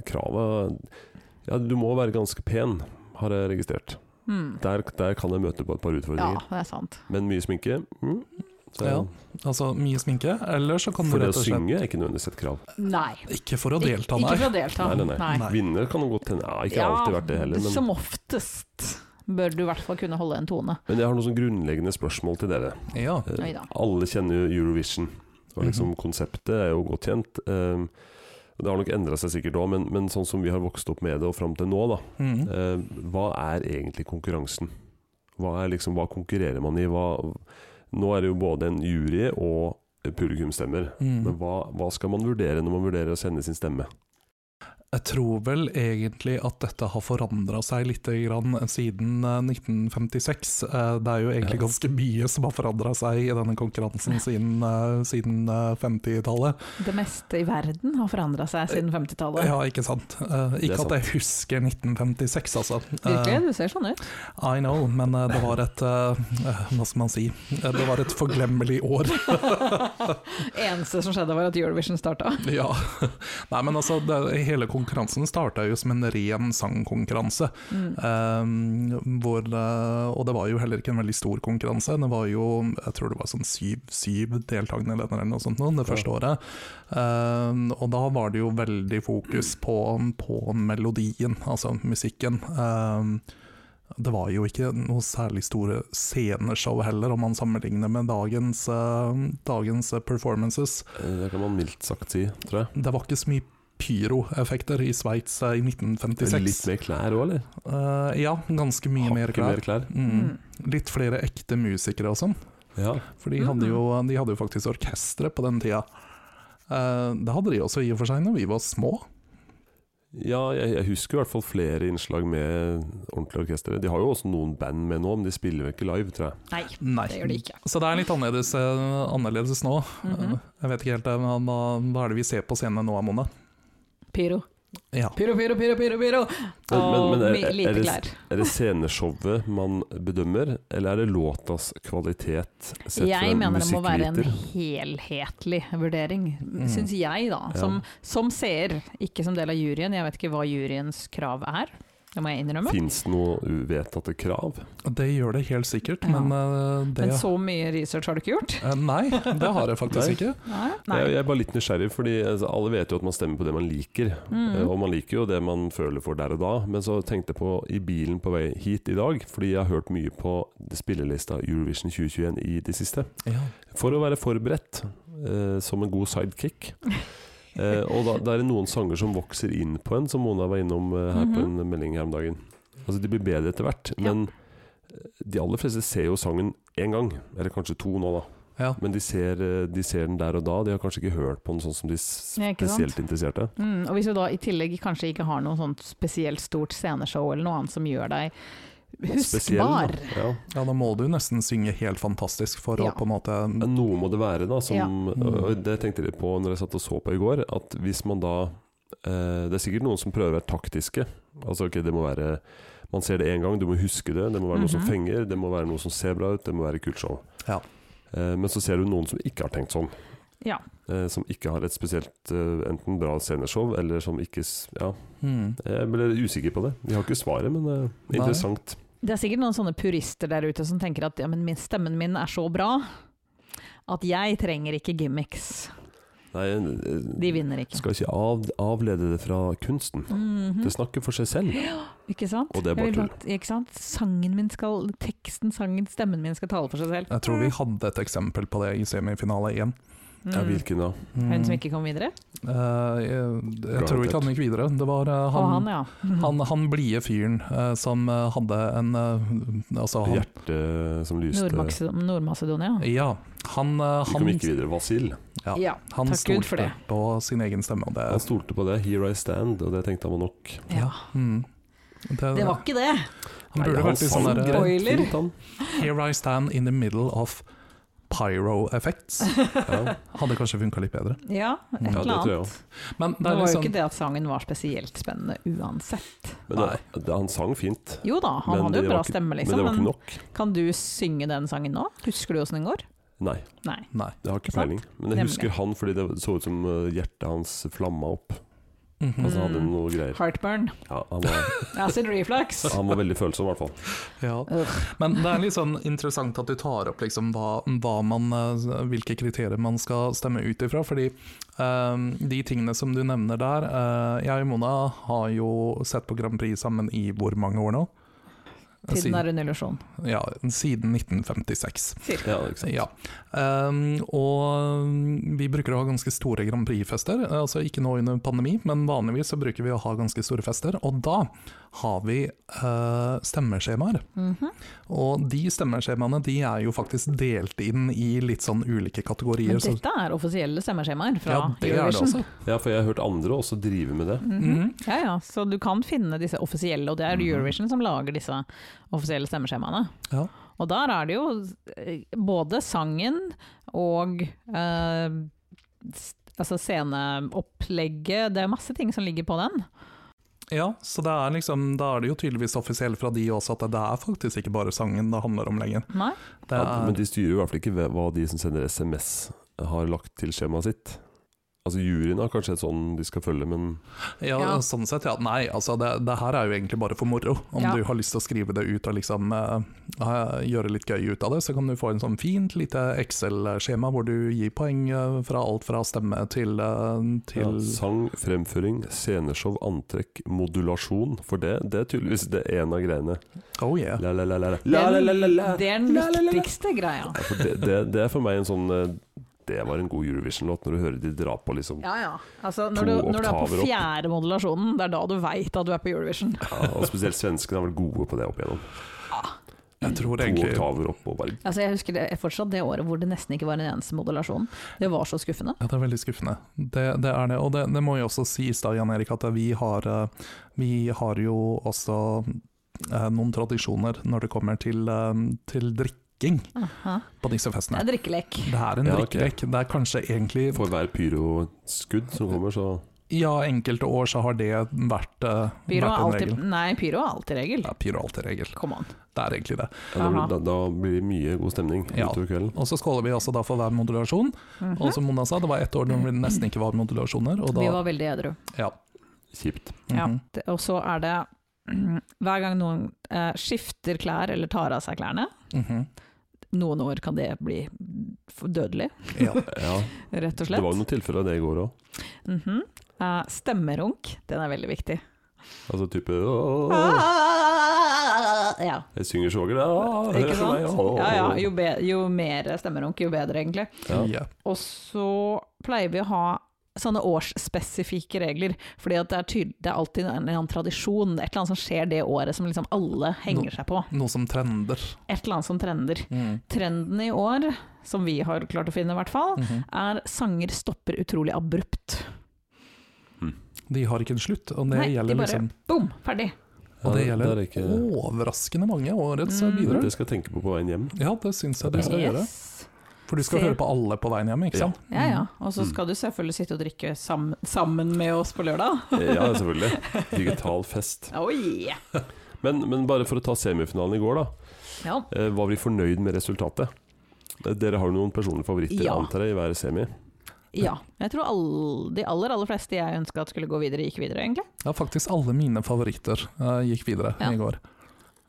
A: Kravet Ja, du må være ganske pen, har jeg registrert.
C: Mm.
A: Der, der kan jeg møte på et par
C: Ja,
A: utfordringer.
C: det er sant.
A: Men mye sminke mm. Så,
B: Ja, Altså mye sminke, eller så kan du
A: For det
B: rett
A: å
B: og slett
A: synge er ikke nødvendigvis et krav.
C: Nei.
B: Ikke for å
C: Ik-
B: delta,
C: Ikke
B: nei.
C: for å delta.
A: Nei, nei, nei.
C: Nei.
A: Vinner kan jo godt hende. Ja, ikke alltid vært det heller, men,
C: Som oftest bør du i hvert fall kunne holde en tone.
A: men jeg har noen sånn grunnleggende spørsmål til dere.
B: Ja.
A: Eh,
C: Oi da.
A: Alle kjenner jo Eurovision, og
B: Mhm.
A: liksom konseptet er jo godt kjent. Eh, det har nok endra seg sikkert òg, men, men sånn som vi har vokst opp med det og fram til nå, da.
B: Mm.
A: eh, hva er egentlig konkurransen? Hva, er liksom, hva konkurrerer man i? Hva, nå er det jo både en jury og publikumsstemmer. Men
B: Mm.
A: hva, hva skal man vurdere når man vurderer å sende sin stemme?
B: Jeg tror vel egentlig at dette har forandra seg litt grann siden eh, 1956. Eh, Det er jo egentlig
A: Ja.
B: ganske mye som har forandra seg i denne konkurransen siden, eh, siden eh, 50-tallet.
C: Det meste i verden har forandra seg siden 50-tallet.
B: Ja, ikke sant? Eh,
A: Det er
B: Ikke at jeg husker 1956, altså. Eh,
C: Virkelig, du ser sånn ut.
B: I know, men eh, det var et eh, eh, Hva skal man si? Eh, Det var et forglemmelig år.
C: Eneste som skjedde, var at Eurovision starta.
B: Ja. Nei, men altså, det, hele konkurransen starta jo som en ren sangkonkurranse.
C: Mm.
B: Um, hvor, eh, og det var jo heller ikke en veldig stor konkurranse. Det var jo, jeg tror det var sånn syv, syv deltakende ledere eller noe sånt nå, det
A: Ja.
B: første året. Um, og da var det jo veldig fokus på, på melodien, altså musikken. Um, det var jo ikke noe særlig store sceneshow heller, om man sammenligner med dagens, eh, dagens performances.
A: Eh, Det kan man mildt sagt si, tror jeg.
B: Det var ikke så mye pyroeffekter i Sveits eh, i 1956.
A: Litt mer klær òg, eller?
B: Eh, ja, ganske mye
A: Hakket
B: mer klær.
A: mer klær.
B: Mm. Litt flere ekte musikere og sånn.
A: Ja.
B: For de hadde, jo, de hadde jo faktisk orkestre på den tida. Eh, det hadde de også i og for seg når vi var små.
A: Ja, jeg, jeg husker i hvert fall flere innslag med ordentlig orkester. De har jo også noen band med nå, men de spiller jo ikke live, tror jeg.
C: Nei,
B: Nei.
C: det gjør de ikke.
B: Så det er litt annerledes, eh, annerledes nå.
C: Mhm.
B: Eh, jeg vet ikke helt eh, hva, hva- hva er det vi ser på scenen nå, Amone?
C: Pyro.
B: Ja.
C: Pyro, pyro, pyro, pyro. pyro. Og
A: Men- men er-
C: mi-
A: er
C: lite
A: det-
C: klær.
A: Er det sceneshowet man bedømmer, eller er det låtas kvalitet sett fra
C: Jeg
A: en
C: mener det må være en
A: musikkviter?
C: helhetlig vurdering,
A: Mm.
C: syns jeg da. Som, som seer, ikke som del av juryen. Jeg vet ikke hva juryens krav er, det må jeg innrømme.
A: Fins det noe uvedtatte krav?
B: Det gjør det helt sikkert,
C: Ja.
B: men eh, det
C: Men så mye research har du ikke gjort?
B: Eh, Nei, det har jeg
A: Nei.
B: faktisk ikke.
C: Nei.
A: Jeg, jeg er bare litt nysgjerrig, fordi altså, alle vet jo at man stemmer på det man liker.
C: Mm.
A: Eh, Og man liker jo det man føler for der og da. Men så tenkte jeg på i bilen på vei hit i dag, fordi jeg har hørt mye på spillelista Eurovision 2021 i det siste.
B: Ja.
A: For å være forberedt, eh, som en god sidekick. Eh, og da, det er noen sanger som vokser inn på en, som Mona var innom eh, her på en melding her om dagen. Altså De blir bedre etter hvert,
C: Mhm. Ja.
A: men eh, de aller fleste ser jo sangen én gang, eller kanskje to nå, da.
B: Ja.
A: Men de ser, eh, de ser den der og da. De har kanskje ikke hørt på den sånn som de s-
C: Ja, ikke sant?
A: spesielt interesserte.
C: Mm, og hvis du da i tillegg kanskje ikke har noe sånt spesielt stort sceneshow eller noe annet som gjør deg
A: Spesiell, da.
C: huskbar
A: Ja.
B: Ja, da må du nesten synge helt fantastisk for
C: Ja.
B: å på en måte
A: Men Noe må det være, da. Som,
C: Ja.
A: og- og det tenkte jeg på når jeg satt og så på i går. At hvis man da eh, Det er sikkert noen som prøver å være taktiske. Altså ok, det må være Man ser det én gang, du må huske det. Det må være noe som
C: Mhm.
A: fenger, det må være noe som ser bra ut, det må være kult show.
B: Ja.
A: Eh, men så ser du noen som ikke har tenkt sånn.
C: Ja.
A: eh, som ikke har et spesielt eh, enten bra sceneshow, eller som ikke s- Ja,
B: Mm.
A: jeg ble usikker på det. Vi har ikke svaret, men eh,
B: Nei.
A: interessant.
C: Det er sikkert noen sånne purister der ute som tenker at ja, men min, stemmen min er så bra at jeg trenger ikke gimmicks.
A: Nei, eh,
C: De vinner ikke.
A: skal ikke av, avlede det fra kunsten.
C: Mhm.
A: Det snakker for seg selv,
C: Ikke sant?
A: og det er
C: Jeg
A: bare
C: vil
A: tull.
C: bare- Ikke sant? Sangen min skal, teksten, sangen, stemmen min skal tale for seg selv.
B: Jeg tror vi hadde et eksempel på det i semifinale én.
C: Mm.
A: Ja, hvilken da?
B: Mm.
C: Hun som ikke kom videre?
B: Eh, jeg, jeg tror ikke han gikk videre. Det var eh,
C: Og
B: han,
C: han, ja. Mm.
B: han, han blide fyren eh, som eh, hadde en eh, Altså, han
A: Hjertet eh, som lyste
C: Nordmaks- Nord-Masedonia.
B: Ja. Han, eh,
A: Vi kom
B: han,
A: ikke videre. Vasil.
B: ja,
C: Ja,
B: han
C: takk Gud for
B: stolte
C: det.
B: på sin egen stemme, og det,
A: Han stolte på det. 'Here I stand', og det tenkte han var nok.
C: ja.
B: mm, det,
C: Det var ikke det!
B: Han burde
A: Nei,
B: vært litt
A: sang
B: sånn der
C: greit.
A: greit
C: Spoiler.
A: fint, han.
B: Here I stand in the middle of pyro effects.
A: Ja.
B: Hadde kanskje funka litt bedre.
C: Ja,
B: Ja,
C: et
A: det
C: eller
A: tror jeg
C: annet.
B: Men
C: Det
B: det er
C: var jo
B: liksom
C: ikke det at sangen var spesielt spennende uansett.
A: Men
B: Nei.
A: det- det- han sang fint,
C: Jo da, han
A: Men
C: hadde jo
A: det
C: bra
A: var ikke-
C: stemme,
A: men det
C: liksom.
A: var ikke
C: Men
A: nok.
C: kan du synge den sangen nå? Husker du åssen den går?
A: Nei,
C: Nei.
B: Nei.
A: jeg har ikke
C: Ikke sant?
A: peiling. Men jeg
C: Nemlig.
A: husker han fordi det så ut som eh, hjertet hans flamma opp. Og så
C: Altså.
B: Mhm.
A: hadde han
C: Mm.
A: noe greier.
C: Heartburn.
A: Ja, han, var,
C: Acid reflux.
A: han var veldig følsom, i hvert fall.
B: Ja.
C: Ugh.
B: Men det er litt sånn interessant at du tar opp liksom hva, hva man, eh, hvilke kriterier man skal stemme ut ifra. Fordi eh, de tingene som du nevner der eh, Jeg og Mona har jo sett på Grand Prix sammen i hvor mange år nå?
C: Tiden
B: Siden-
C: er en illusjon.
B: Ja, siden 1956.
A: Ja, ikke sant?
B: Ja. Ehm, og vi bruker å ha ganske store Grand Prix-fester. Altså ikke nå under pandemi, men vanligvis så bruker vi å ha ganske store fester. Og da har vi eh, stemmeskjemaer.
C: Mhm.
B: Og de stemmeskjemaene de er jo faktisk delt inn i litt sånn ulike kategorier.
C: Men
B: så-
C: dette er offisielle stemmeskjemaer fra
B: ja, det altså. er det
C: Eurovision.
B: også.
A: ja, for jeg har hørt andre også drive med det.
C: Mhm. Ja, ja, så du kan finne disse offisielle, og det er
A: Mhm.
C: Eurovision som lager disse offisielle stemmeskjemaene.
B: Ja.
C: Og der er det jo eh, både sangen og eh, s- altså sceneopplegget, det er masse ting som ligger på den.
B: Ja, så det er liksom, da er det jo tydeligvis offisielt fra de også at det er faktisk ikke bare sangen det handler om lenger.
C: Nei?
B: Det
A: Ja, men
B: er,
A: de styrer jo i hvert fall ikke ved hva de som sender SMS har lagt til skjemaet sitt. Altså Juryen har kanskje et sånn de skal følge, men
B: ja,
C: Ja.
B: sånn sett, ja. Nei, altså det, det her er jo egentlig bare for moro. Om
C: Ja.
B: du har lyst til å skrive det ut og liksom eh, eh, gjøre litt gøy ut av det, så kan du få en sånn fint lite Excel-skjema hvor du gir poeng eh, fra alt fra stemme til, eh,
A: ja,
B: til
A: sang, fremføring, sceneshow, antrekk, modulasjon. For det, det er tydeligvis det ene av greiene.
B: Oh yeah.
A: La, la, la, la, la.
C: Den-
A: La, la, la, la, la.
C: Det er den
A: La, la, la, la.
C: viktigste greia.
A: Ja, for det, det, det er for meg en sånn eh, Det var en god Eurovision-låt, når du hører de dra på, liksom.
C: Ja, ja. Altså,
A: To
C: når, du, når du er
A: oktaver
C: på
A: opp.
C: fjerde modulasjonen, det er da du veit at du er på Eurovision.
A: Ja, og spesielt svenskene er vel gode på det opp igjennom.
B: Jeg tror
A: To
B: egentlig
A: oktaver opp og bare
C: Altså, jeg husker det, fortsatt det året hvor det nesten ikke var en eneste modulasjon. Det var så skuffende.
B: Ja, det er veldig skuffende. Det, det er det. Og det, det må jo også sies da, Jan Erik, at vi har, eh, vi har jo også eh, noen tradisjoner når det kommer til, eh, til drikking
C: Aha.
B: på disse
C: Det
B: festene.
C: er drikkelek.
B: Det er en
A: Ja, ok.
B: drikkelek. Det er kanskje egentlig
A: For hver pyroskudd som kommer, så
B: Ja, enkelte år så har det vært, eh,
C: Pyro
B: vært
C: er
B: en
C: alltid,
B: regel.
C: nei, pyro er alltid regel.
B: Ja, pyro er alltid regel.
C: Come on.
B: Det er egentlig det.
A: ja, da,
C: Aha.
A: blir, da, da blir det mye god stemning
B: Ja.
A: utover kvelden.
B: Og så skåler vi også da for hver modulasjon.
C: Mhm.
B: Og som Mona sa, det var ett år når det nesten ikke var modulasjoner. Og da,
C: Vi var veldig edru.
B: ja.
A: Kjipt.
C: Ja.
B: Mhm.
C: Det- Og så er det hver gang noen eh, skifter klær eller tar av seg klærne,
B: Mhm.
C: noen år kan det bli f- dødelig,
B: ja.
A: Ja,
C: rett
A: det
C: og slett.
A: var jo noen tilfeller av det i går òg.
C: Mhm. Eh, stemmerunk, den er veldig viktig.
A: Altså type
C: Ah!»
A: «Åh,
C: Ja,
A: Jeg synger så vakkert. «Åh, hør
C: ikke
A: på meg,
C: sant?
A: åh».
C: Ja, ja. Jo, be jo mer stemmerunk, jo bedre, egentlig.
A: Ja.
B: Ja.
C: Og så pleier vi å ha sånne årsspesifikke regler, fordi at det er, tydelig, det er alltid en eller annen tradisjon, et eller annet som skjer det året som liksom alle henger seg på.
B: Noe som trender.
C: Et eller annet som trender.
B: Mm.
C: Trenden i år, som vi har klart å finne i hvert fall,
B: Mhm.
C: er sanger stopper utrolig abrupt.
B: De har ikke en slutt, og det
C: Nei, de
B: gjelder
C: bare-
B: liksom
C: Boom, ferdig.
B: Og det
A: Ja,
B: gjelder Oh,
A: der er ikke,
B: overraskende mange årets
C: Mm.
B: bidrag.
A: Det skal jeg tenke på på veien hjem.
B: Ja, det syns jeg du skal gjøre.
C: Yes.
B: For du skal
C: Se.
B: høre på alle på veien hjem, ikke
A: Ja.
B: sant?
C: Ja ja.
B: Mm.
C: Og så skal du selvfølgelig sitte og drikke sam sammen med oss på lørdag.
A: Eh, Ja, selvfølgelig. Digital fest.
C: Oh yeah.
A: Men, men bare for å ta semifinalen i går, da.
C: Ja.
A: eh, Var vi fornøyd med resultatet? Eh, Dere har jo noen personlige favoritter,
C: Ja.
A: antar jeg, i hver semi.
C: Ja. Jeg tror all, de aller, aller fleste jeg ønska at skulle gå videre, gikk videre, egentlig.
B: Ja, faktisk alle mine favoritter eh, gikk videre
C: Ja.
B: i går.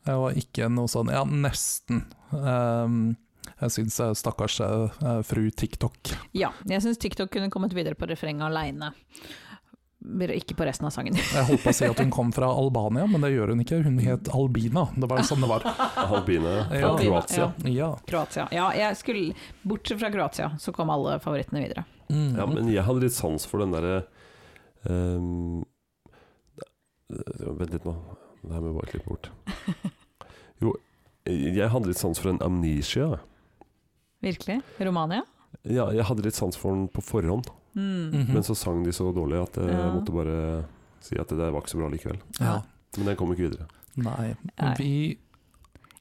B: Jeg var ikke noe sånn Ja, nesten. Ehm, jeg syns eh, stakkars eh, eh, fru TikTok.
C: Ja. Jeg syns TikTok kunne kommet videre på refrenget aleine. Ikke på resten av sangen.
B: Jeg holdt på å si at hun kom fra Albania, men det gjør hun ikke. Hun het Albina. Det var sånn det var.
A: Albine fra
B: Ja.
A: Kroatia.
B: Ja.
C: Kroatia. Ja, jeg skulle, bortsett fra Kroatia, så kom alle favorittene videre.
B: Mm.
A: Ja, men jeg hadde litt sans for den derre ehm, det- eh, Vent litt nå. Det her må jeg bare klippe bort. Jo, jeg hadde litt sans for en amnesia.
C: Virkelig. Romania?
A: Ja, jeg hadde litt sans for den på forhånd,
C: Mm.
B: Mhm.
A: men så sang de så dårlig at jeg
C: Ja.
A: måtte bare si at det der var ikke så bra likevel.
B: ja.
A: Men den kom ikke videre.
B: Nei.
C: Nei.
B: Vi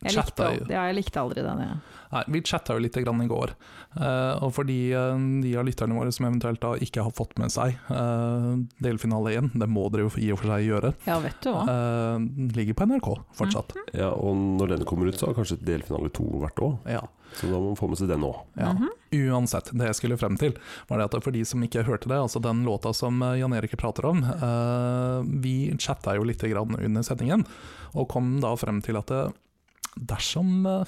C: Jeg, likte,
B: chatta jo.
C: al- ja, jeg likte aldri den, jeg.
B: Nei, vi chatta jo litt grann i går, eh, og for de, eh, de av lytterne våre som eventuelt da ikke har fått med seg eh, delfinale igjen, det må dere jo i og for seg gjøre,
C: Ja, vet du hva.
B: eh, den ligger på NRK fortsatt.
A: Ja, Og når den kommer ut, så har kanskje delfinale to vært òg,
B: Ja,
A: så da må man få med seg den òg.
B: ja.
C: Mhm.
B: Uansett, det jeg skulle frem til, var det at for de som ikke hørte det, altså den låta som eh, Jan Erik prater om, eh, vi chatta jo litt grann under sendingen, og kom da frem til at eh, dersom eh,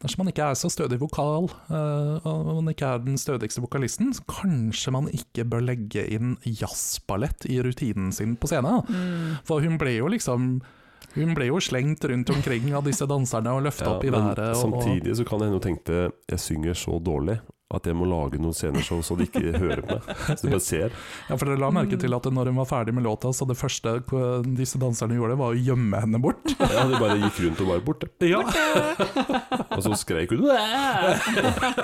B: Dersom man ikke er så stødig vokal, eh, og man ikke er den stødigste vokalisten, så kanskje man ikke bør legge inn jazzballett i rutinen sin på scenen.
C: Mm.
B: For hun ble jo liksom Hun ble jo slengt rundt omkring av disse danserne og løfta opp i
A: men
B: været. og-
A: samtidig så kan det hende hun tenkte jeg synger så dårlig at jeg må lage noen sceneshow så de ikke hører på meg. Så de bare ser.
B: Ja, for dere la merke
C: Mm.
B: til at når hun var ferdig med låta, så det første k- disse danserne gjorde, var å gjemme henne bort.
A: Ja, De bare gikk rundt og var borte.
B: Ja,
A: Og så skreik hun. Nei,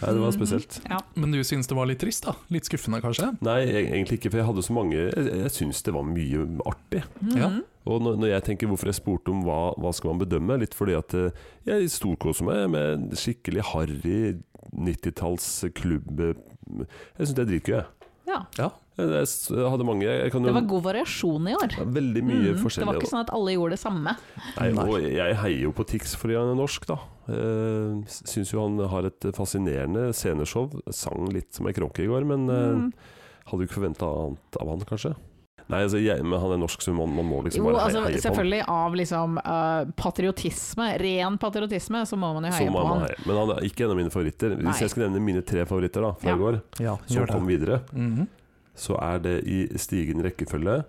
A: det var spesielt.
C: Ja.
B: Men du syns det var litt trist, da? Litt skuffende, kanskje?
A: Nei, e- egentlig ikke, for jeg hadde så mange Jeg, jeg syns det var mye artig.
B: Ja.
C: Mhm.
A: Og når, når jeg tenker hvorfor jeg spurte om hva, hva skal man bedømme, litt fordi at eh, jeg storkoser meg med skikkelig harry 90-tallsklubb Jeg syns det er dritgøy, jeg.
C: ja.
B: Ja.
A: Jeg, jeg s- hadde mange. Jeg, jeg kan jo
C: Det var god variasjon i år.
A: Ja, Veldig mye
C: Mm. Det
A: forskjellig.
C: var ikke sånn at alle gjorde det samme.
A: Nei, og jeg heier jo på Tix fordi han er norsk, da. Uh, Syns jo han har et fascinerende sceneshow. Sang litt som ei kråke i går, men eh,
C: Mm.
A: hadde jo ikke forventa annet av han, kanskje. Nei, altså, jeg, men han er norsk, så man, man må liksom
C: Jo,
A: bare hei-
C: altså,
A: heie på han.
C: selvfølgelig av liksom eh, patriotisme, ren patriotisme, så må man jo
A: Så
C: heie
A: må
C: på
A: man
C: han.
A: heie. Men han er ikke en av mine favoritter. Hvis
C: Nei.
A: jeg skal nevne mine tre favoritter da, fra
C: Ja.
A: i går,
B: ja
A: som
B: gjør det.
A: kom videre,
B: Mhm.
A: så er det i stigende rekkefølge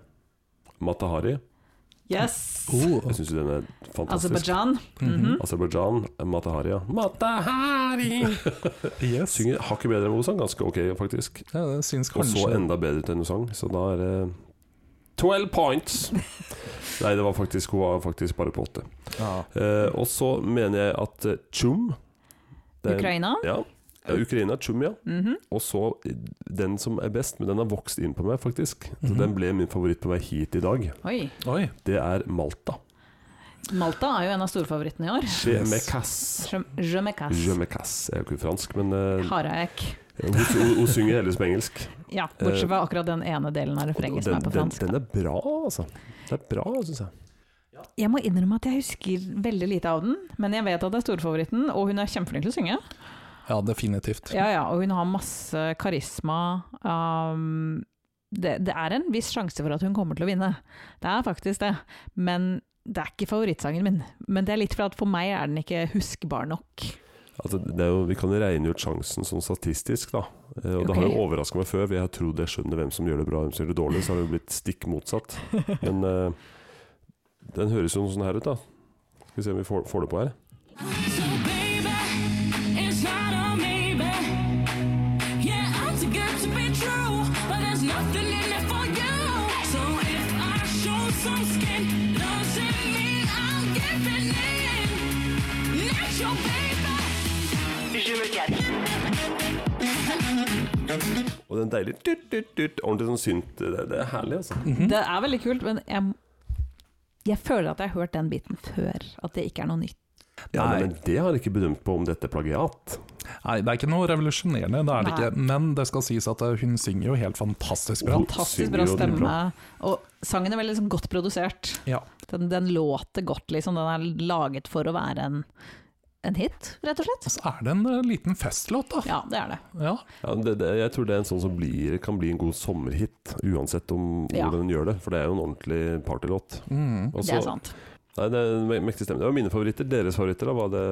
A: Matahari.
C: Yes!
B: oh.
A: Jeg syns jo den er fantastisk.
C: Aserbajdsjan.
B: Mm-hmm.
C: Mhm.
A: Aserbajdsjan. Matahari, ja. Matahari!
B: Yes.
A: Synger hakket bedre enn Osan, ganske ok faktisk.
B: Ja, det syns
A: Og så
B: kanskje
A: enda bedre til enn Osan, så da er det 12 points! Nei, det var faktisk, hun var faktisk bare på åtte.
B: ja.
A: Eh, og så mener jeg at eh, Tjum det er-
C: Ukraina.
A: Ja, ja Ukraina, Tjum, ja.
C: Mhm.
A: Og så eh, den som er best, men den har vokst inn på meg, faktisk. Så
B: Mhm.
A: Den ble min favoritt på vei hit i dag.
C: Oi.
B: Oi.
A: Det er Malta.
C: Malta er jo en av storfavorittene i år.
A: Jemecas.
C: Je- Jemecas.
A: Jemecas. Jeg er jo ikke fransk, men eh,
C: Hareek.
A: hun, hun, hun synger heller som engelsk.
C: Ja, bortsett fra akkurat den ene delen av
A: Og
C: refrenget som
A: Eh, den,
C: er på
A: den,
C: fransk.
A: den er bra, altså. Det er bra, syns jeg.
C: Jeg må innrømme at jeg husker veldig lite av den, men jeg vet at det er storfavoritten, og hun er kjempeflink til å synge.
B: Ja, definitivt.
C: Ja, ja, og hun har masse karisma. Um, det, det er en viss sjanse for at hun kommer til å vinne, det er faktisk det. Men det er ikke favorittsangen min. Men det er litt for at for meg er den ikke huskbar nok.
A: Altså, det er jo, vi kan regne ut sjansen sånn statistisk, da. Eh, Og det
C: Ok.
A: har jo overraska meg før. for Jeg har trodd jeg skjønner hvem som gjør det bra og hvem som gjør det dårlig. Så har det jo blitt stikk motsatt. Men eh, den høres jo sånn her ut, da. Skal vi se om vi får, får det på her.
D: So baby, it's not a maybe. Yeah, I'm too good to be true, but there's nothing in it for you. So if I show some skin, doesn't mean I'm giving in. Not your baby.
A: Og den deilige tut, tut, tut, ordentlig sånn synt. Det, det er herlig, altså.
C: Det er veldig kult, men jeg, jeg føler at jeg har hørt den biten før. At det ikke er noe nytt.
A: Ja,
B: Nei.
A: men, men det har jeg ikke bedømt på om dette er plagiat.
B: Nei, det er ikke noe revolusjonerende, det er det
C: Nei.
B: ikke. Men det skal sies at eh, hun synger jo helt fantastisk bra.
A: Hun
C: Fantastisk
A: synger
C: bra
A: jo dritbra.
C: stemme. Og sangen er veldig liksom, godt produsert.
B: Ja.
C: Den, den låter godt, liksom. Den er laget for å være en en hit, rett og slett.
B: Og så er det en eh, liten festlåt, da.
C: Ja, det er det.
B: Ja.
A: Ja, det, det, jeg tror det er en sånn som blir, kan bli en god sommerhit, uansett om
C: Ja.
A: hvordan den gjør det. For det er jo en ordentlig partylåt. Altså,
B: Mm.
A: Og
C: det
A: så-
C: er sant.
A: Nei, det er en me- mektig stemme. Det var mine favoritter. Deres favoritter, da var det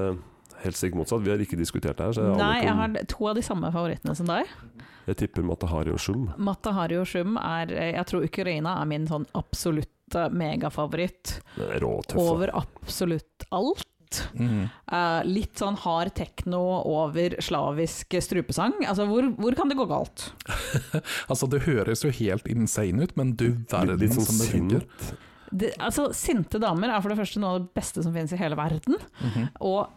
A: helt stikk motsatt. Vi har ikke diskutert det her, så jeg, aner
C: Nei,
A: ikke
C: jeg
A: om-
C: har to av de samme favorittene som deg.
A: jeg tipper Matahari og Shum.
C: Matahari og Shum er eh, Jeg tror Ukraina er min sånn absolutte megafavoritt
A: Den er Råtøff. da.
C: over absolutt alt.
B: Mm.
C: Eh, litt sånn hard tekno over slavisk strupesang. Altså, hvor, hvor kan det gå galt?
B: Altså, det høres jo helt insane ut, men du verden
A: Litt, litt sånn
B: som det funker.
A: sint.
C: Det, altså, sinte damer er for det første noe av det beste som finnes i hele verden.
B: Mhm.
C: Og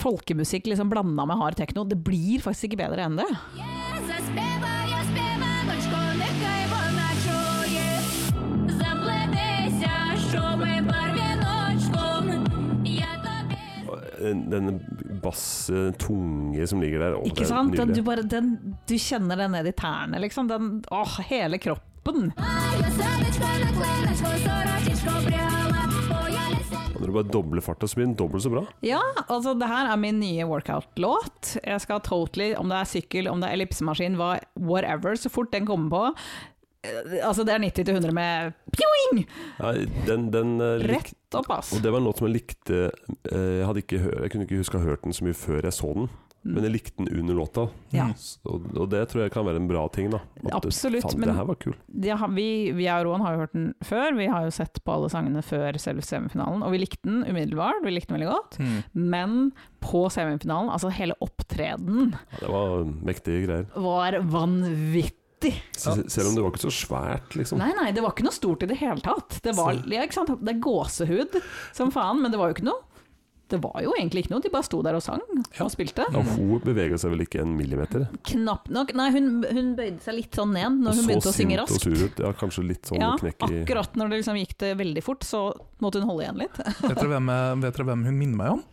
C: folkemusikk liksom blanda med hard tekno, det blir faktisk ikke bedre enn det.
D: Я заспіваю співаночку, нехай вона чує. Заплетися, що ми барвіночком. Я тобі
A: Den- Denne bass-tunge som ligger der. Å, det
C: Ikke
A: er
C: sant? Den,
A: nydelig.
C: du, bare, den, du kjenner den ned i tærne, liksom. Den, åh, hele kroppen.
D: маю садочку на клиночку, сорочечку пряла. Бо я лиса
A: Og Når du bare dobler farta, så blir den dobbelt så bra.
C: Ja, altså det her er min nye workout-låt. Jeg skal totally, om det er sykkel, om det er ellipsemaskin, hva, whatever, så fort den kommer på. eh, Altså det er 90 til 100 med pjoing!
A: Nei, den, den eh, lik-
C: Rett opp, ass.
A: Og det var en låt som jeg likte eh, Jeg, hadde ikke hø- jeg kunne ikke huske å ha hørt den så mye før jeg så den, men jeg likte den under låta.
C: Ja.
B: Mm.
A: S- Og, og det tror jeg kan være en bra ting, da. At det-
C: Absolutt,
A: Faen,
C: men-
A: det her var kul.
C: Det har- vi, vi og Roan har jo hørt den før, vi har jo sett på alle sangene før selve semifinalen, og vi likte den umiddelbart, vi likte den veldig godt.
B: Mm.
C: Men på semifinalen, altså hele opptredenen,
A: Ja, det var mektige greier.
C: var vanvittig.
A: Se-
B: Ja.
A: se- Selv om det var ikke så svært, liksom.
C: Nei, nei, det var ikke noe stort i det hele tatt. Det var
B: Så-
C: ja, ikke sant? Det er gåsehud som faen, men det var jo ikke noe. Det var jo egentlig ikke noe, de bare sto der og sang
B: Ja.
C: og spilte.
A: Ja, hun bevega seg vel ikke en millimeter.
C: Knapt nok Nei, hun, hun bøyde seg litt sånn ned når hun
A: så
C: begynte å synge
A: sint og
C: raskt.
A: sur ut. Ja, kanskje litt sånn
C: Ja,
A: knekk i
C: akkurat når det liksom gikk det veldig fort, så måtte hun holde igjen litt.
B: Vet, dere hvem, eh, vet dere hvem hun minner meg om?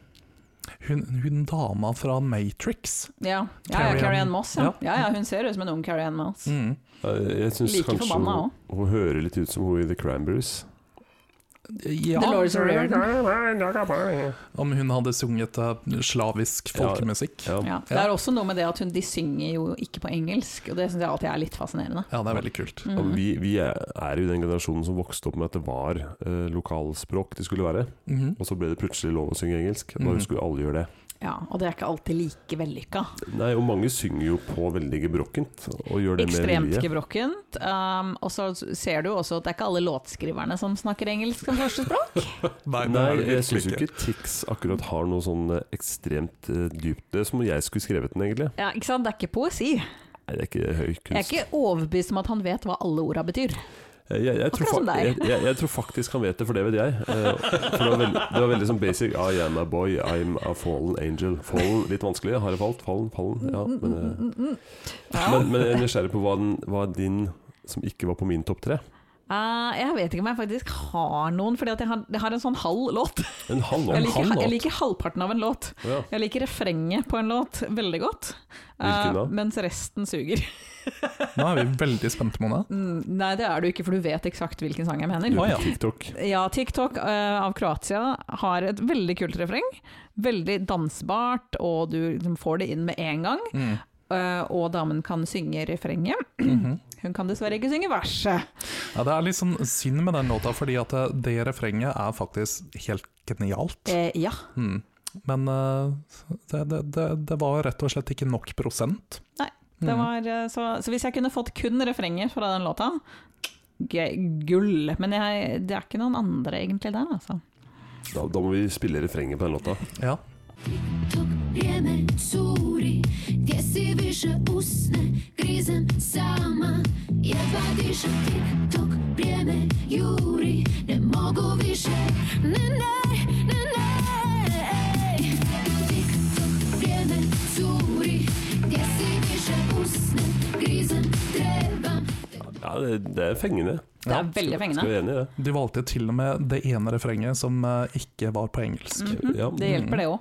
B: Hun, hun dama fra Matrix.
C: Ja, ja, ja
B: Carrie
C: Carrie Ann
B: Ann.
C: Moss, ja. ja. ja, Hun ser ut som en ung Carrie Ann Moss.
B: Mm.
A: Ja, Jeg syns
C: Like
A: kanskje
C: forbanna
A: hun, hun hører litt ut som hun i The Cranberries.
B: Ja.
C: Dolores O'Riordan.
B: Om hun hadde sunget eh, slavisk
A: Ja.
B: folkemusikk. Ja,
A: Ja.
C: Ja. Det er også noe med det at hun, de synger jo ikke på engelsk, og det syns jeg alltid er litt fascinerende.
B: det er veldig kult.
A: Og vi, vi er er jo den generasjonen som vokste opp med at det var eh, lokalspråk det skulle være.
B: Mhm.
A: Og så ble det plutselig lov å synge engelsk. Og
B: Mhm.
A: da skulle alle gjøre det.
C: Ja, og det er ikke alltid like vellykka.
A: Nei, og mange synger jo på veldig gebrokkent. Og gjør det
C: Ekstremt
A: med vilje.
C: gebrokkent. Um, og så ser du jo også at det er ikke alle låtskriverne som snakker engelsk som førstespråk.
B: Nei, det er
A: Nei,
B: det
A: jeg
B: virkelig
A: syns jo ikke Tix akkurat har noe sånn eh, ekstremt eh, dypt Det er som om jeg skulle skrevet den, egentlig.
C: Ja, ikke sant? Det er ikke poesi.
A: Nei, det er ikke høy kunst.
C: Jeg er ikke overbevist om at han vet hva alle orda betyr.
A: Jeg, jeg, jeg, tror
C: Akkurat som
A: fa-
C: deg.
A: jeg, jeg, jeg tror faktisk han vet det, for det vet jeg. Eh, For det var veldig, det var veldig sånn basic I am a boy, I'm a fallen angel. Fallen, litt vanskelig. Har jeg falt? Fallen, fallen. Ja, men, eh, men, men jeg er nysgjerrig på hva, den, hva er din som ikke var på min topp tre.
C: Eh, jeg vet ikke om jeg faktisk har noen, for jeg, har- jeg har en sånn halv låt.
A: En halv
C: Jeg
A: låt.
C: liker, jeg liker halvparten av en låt.
A: Ja.
C: Jeg liker refrenget på en låt veldig godt, eh,
A: Hvilken da?
C: mens resten suger.
B: Nå er vi veldig spente, Mona.
C: Mm, Nei, det er du ikke, for du vet eksakt hvilken sang jeg mener.
A: Du
B: Å, ja.
A: på TikTok.
C: Ja, TikTok eh, av Kroatia har et veldig kult refreng. Veldig dansbart, og du liksom får det inn med en gang.
B: Mm.
C: Eh, og damen kan synge refrenget.
A: Mhm.
C: Hun kan dessverre ikke synge verset.
B: Ja, det er litt sånn synd med den låta, fordi at eh, det refrenget er faktisk helt genialt.
C: Eh, ja.
B: Mm. Men eh, det, det, det, det var rett og slett ikke nok prosent. Mm.
C: Nei,
A: Mhm.
C: det var, eh, så, så hvis jeg kunne fått kun refrenget fra den låta gøy- Gull. Men jeg, det er ikke noen andre egentlig der, altså.
A: Da, da må vi spille refrenget på den låta.
B: Ja.
E: Ток время цури, где си выше усне, кризом сама, едва дишам ти. Ток время Юри, не могу више, не най, не най. Тик ток время цури, где си выше усне, кризом требам.
A: Ja, det, det er fengende.
C: Det er veldig
A: Skal vi
C: fengende.
A: være enig i det?
B: De
C: Mm.
B: valgte til og med det ene refrenget som eh, ikke var på engelsk.
A: Ja,
C: Det hjelper, det òg.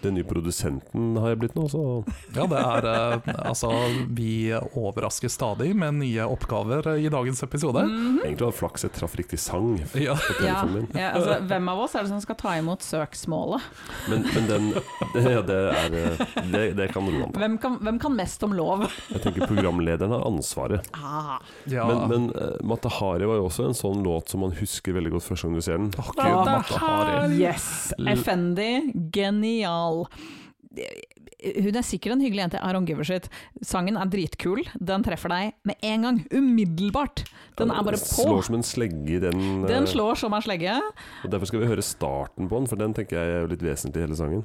A: Den nye produsenten har jeg blitt nå, så
B: Ja, det er eh, Altså, vi overrasker stadig med nye oppgaver eh, i dagens episode.
C: Mhm.
A: egentlig var det flaks jeg traff riktig sang.
B: Ja.
A: på
C: Ja,
A: telefonen min.
C: ja, altså, hvem av oss er det som skal ta imot søksmålet?
A: Men, men den Ja, det er eh, Det, det kan roe an på.
C: Hvem kan, hvem kan mest om lov?
A: Jeg tenker programlederen har ansvaret.
C: Ah,
B: ja.
A: Men, men eh, Matahari var jo også en sånn låt som man husker veldig godt første gang du ser den.
B: Åh, Gud, Mata Hari.
C: yes! Effendi, genial. Hun er sikkert en hyggelig jente, I don't give a shit. Sangen er dritkul, den treffer deg med en gang. Umiddelbart! Den er bare på.
A: Slår som en slegge i den. eh,
C: Den slår som en slegge.
A: og Derfor skal vi høre starten på den, for den tenker jeg er litt vesentlig i hele sangen.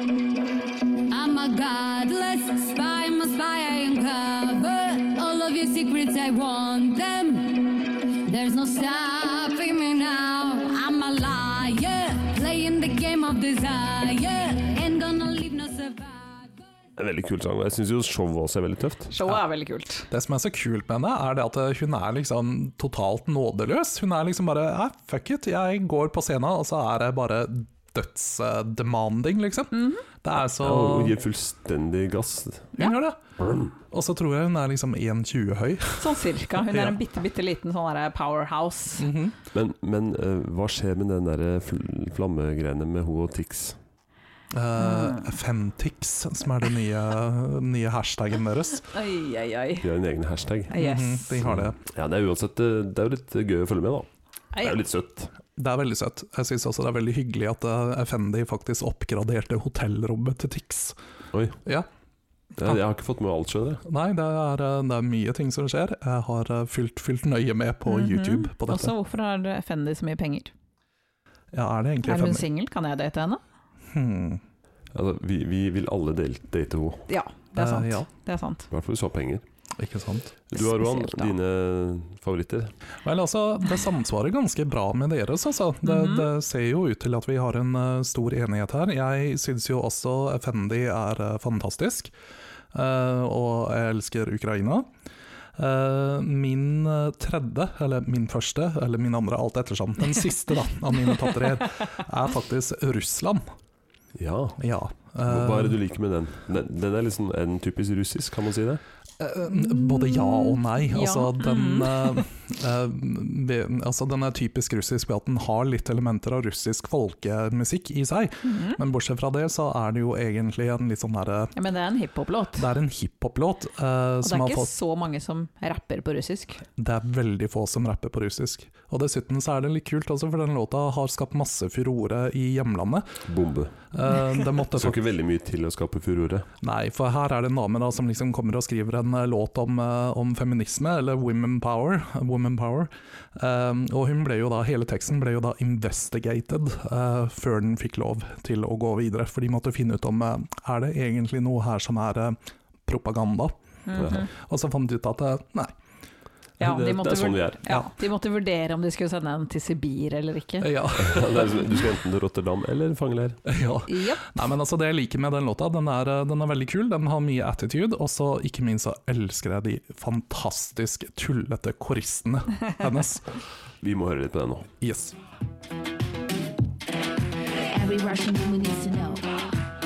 E: I'm a godless spy, I'm a spy, I uncover all of your secrets, I want them. There's no stopping me now. I'm a liar, playing the game of desire, and gonna leave no survivor.
A: En veldig kul sang. og Jeg syns jo showet også er veldig tøft.
C: Showet er veldig kult.
B: Det som er så kult med henne, er det at hun er liksom totalt nådeløs. Hun er liksom bare Nei, fuck it, jeg går på scenen, og så er det bare dødsdemanding, liksom.
C: Mhm.
B: Det er så
A: Ja, og gir fullstendig gass.
B: Hun gjør det. Og så tror jeg hun er liksom 1,20 høy.
C: Sånn cirka. Hun
B: Ja.
C: er en bitte, bitte liten sånn derre powerhouse.
A: Men, men eh, hva skjer med den der fl flammegreiene med ho og Tix?
B: Uh, Femtix, som er den nye, nye hashtagen deres.
C: Oi, oi, oi.
A: De har en egen hashtag.
C: Yes.
B: Mhm, de har det.
A: Ja, det er uansett eh, Det er jo litt gøy å følge med, da. Det er jo
C: Ei,
A: litt søtt.
B: Det er veldig søtt. Jeg syns også det er veldig hyggelig at eh, Effendi faktisk oppgraderte hotellrommet til Tix.
A: Oi.
B: Ja.
A: Jeg, jeg har ikke fått med alt, skjønner jeg.
B: Nei, det er, eh, det er mye ting som skjer. Jeg har eh, fulgt, fulgt nøye med på
C: Mhm.
B: YouTube på dette.
C: Også, hvorfor har Fendi så mye penger?
B: Ja, er det egentlig
C: Er hun
B: Effendi?
C: singel? Kan jeg date henne?
B: Hmm.
A: Altså, vi, vi vil alle del- date ho,
C: Ja, det er
B: Eh,
C: sant.
B: ja,
C: Det er sant.
A: i hvert fall hvis du har penger.
B: ikke sant.
A: Du har Roan,
C: Spesielt, da.
A: dine eh, favoritter.
B: Vel, altså, det samsvarer ganske bra med deres, altså. Det,
C: Mhm.
B: det ser jo ut til at vi har en eh, stor enighet her. Jeg syns jo også Effendi er eh, fantastisk, eh, og jeg elsker Ukraina. Eh, min eh, tredje, eller min første, eller min andre, alt ettersom, den siste da, av mine topp tre, er faktisk Russland.
A: Ja.
B: Ja. eh,
A: Hva er det du liker med den? Den, den er liksom en typisk russisk, kan man si det?
B: Eh, Både ja og nei.
C: Ja.
B: Altså, den,
C: Mm.
B: eh, eh, vi, altså, den er typisk russisk ved at den har litt elementer av russisk folkemusikk i seg.
C: Mhm.
B: Men bortsett fra det, så er det jo egentlig en litt sånn derre
C: Ja, men det er en hiphop-låt.
B: Det er en hiphop-låt eh,
C: Og det
B: som
C: er
B: har
C: ikke
B: fått
C: så mange som rapper på russisk.
B: Det er veldig få som rapper på russisk. Og dessuten så er det litt kult også, for den låta har skapt masse furore i hjemlandet.
A: Bombe.
B: Eh, det måtte
A: Det skal ikke veldig mye til å skape furore.
B: Nei, for her er det en dame da, som liksom kommer og skriver en eh, låt om, eh, om feminisme, eller women power. Women power. Um, og hun ble jo da, hele teksten ble jo da investigated eh, før den fikk lov til å gå videre. For de måtte finne ut om eh, er det egentlig noe her som er eh, propaganda.
A: Mhm.
B: Og så fant de ut at eh, nei.
C: Ja,
A: det,
C: de
A: det
C: måtte,
A: er sånn
C: vur-
A: vi er.
C: ja, de måtte vurdere om de skulle sende den til Sibir eller ikke.
B: Ja.
A: Det er, du skal enten til Rotterdam eller fangeleir.
B: ja.
C: Ja.
B: Nei, men altså Det jeg liker med den låta, den er, eh, den er veldig kul, den har mye attitude. Og så ikke minst så elsker jeg de fantastisk tullete koristene hennes.
A: Vi må høre litt på det nå.
B: Yes.
F: Every Russian woman needs to know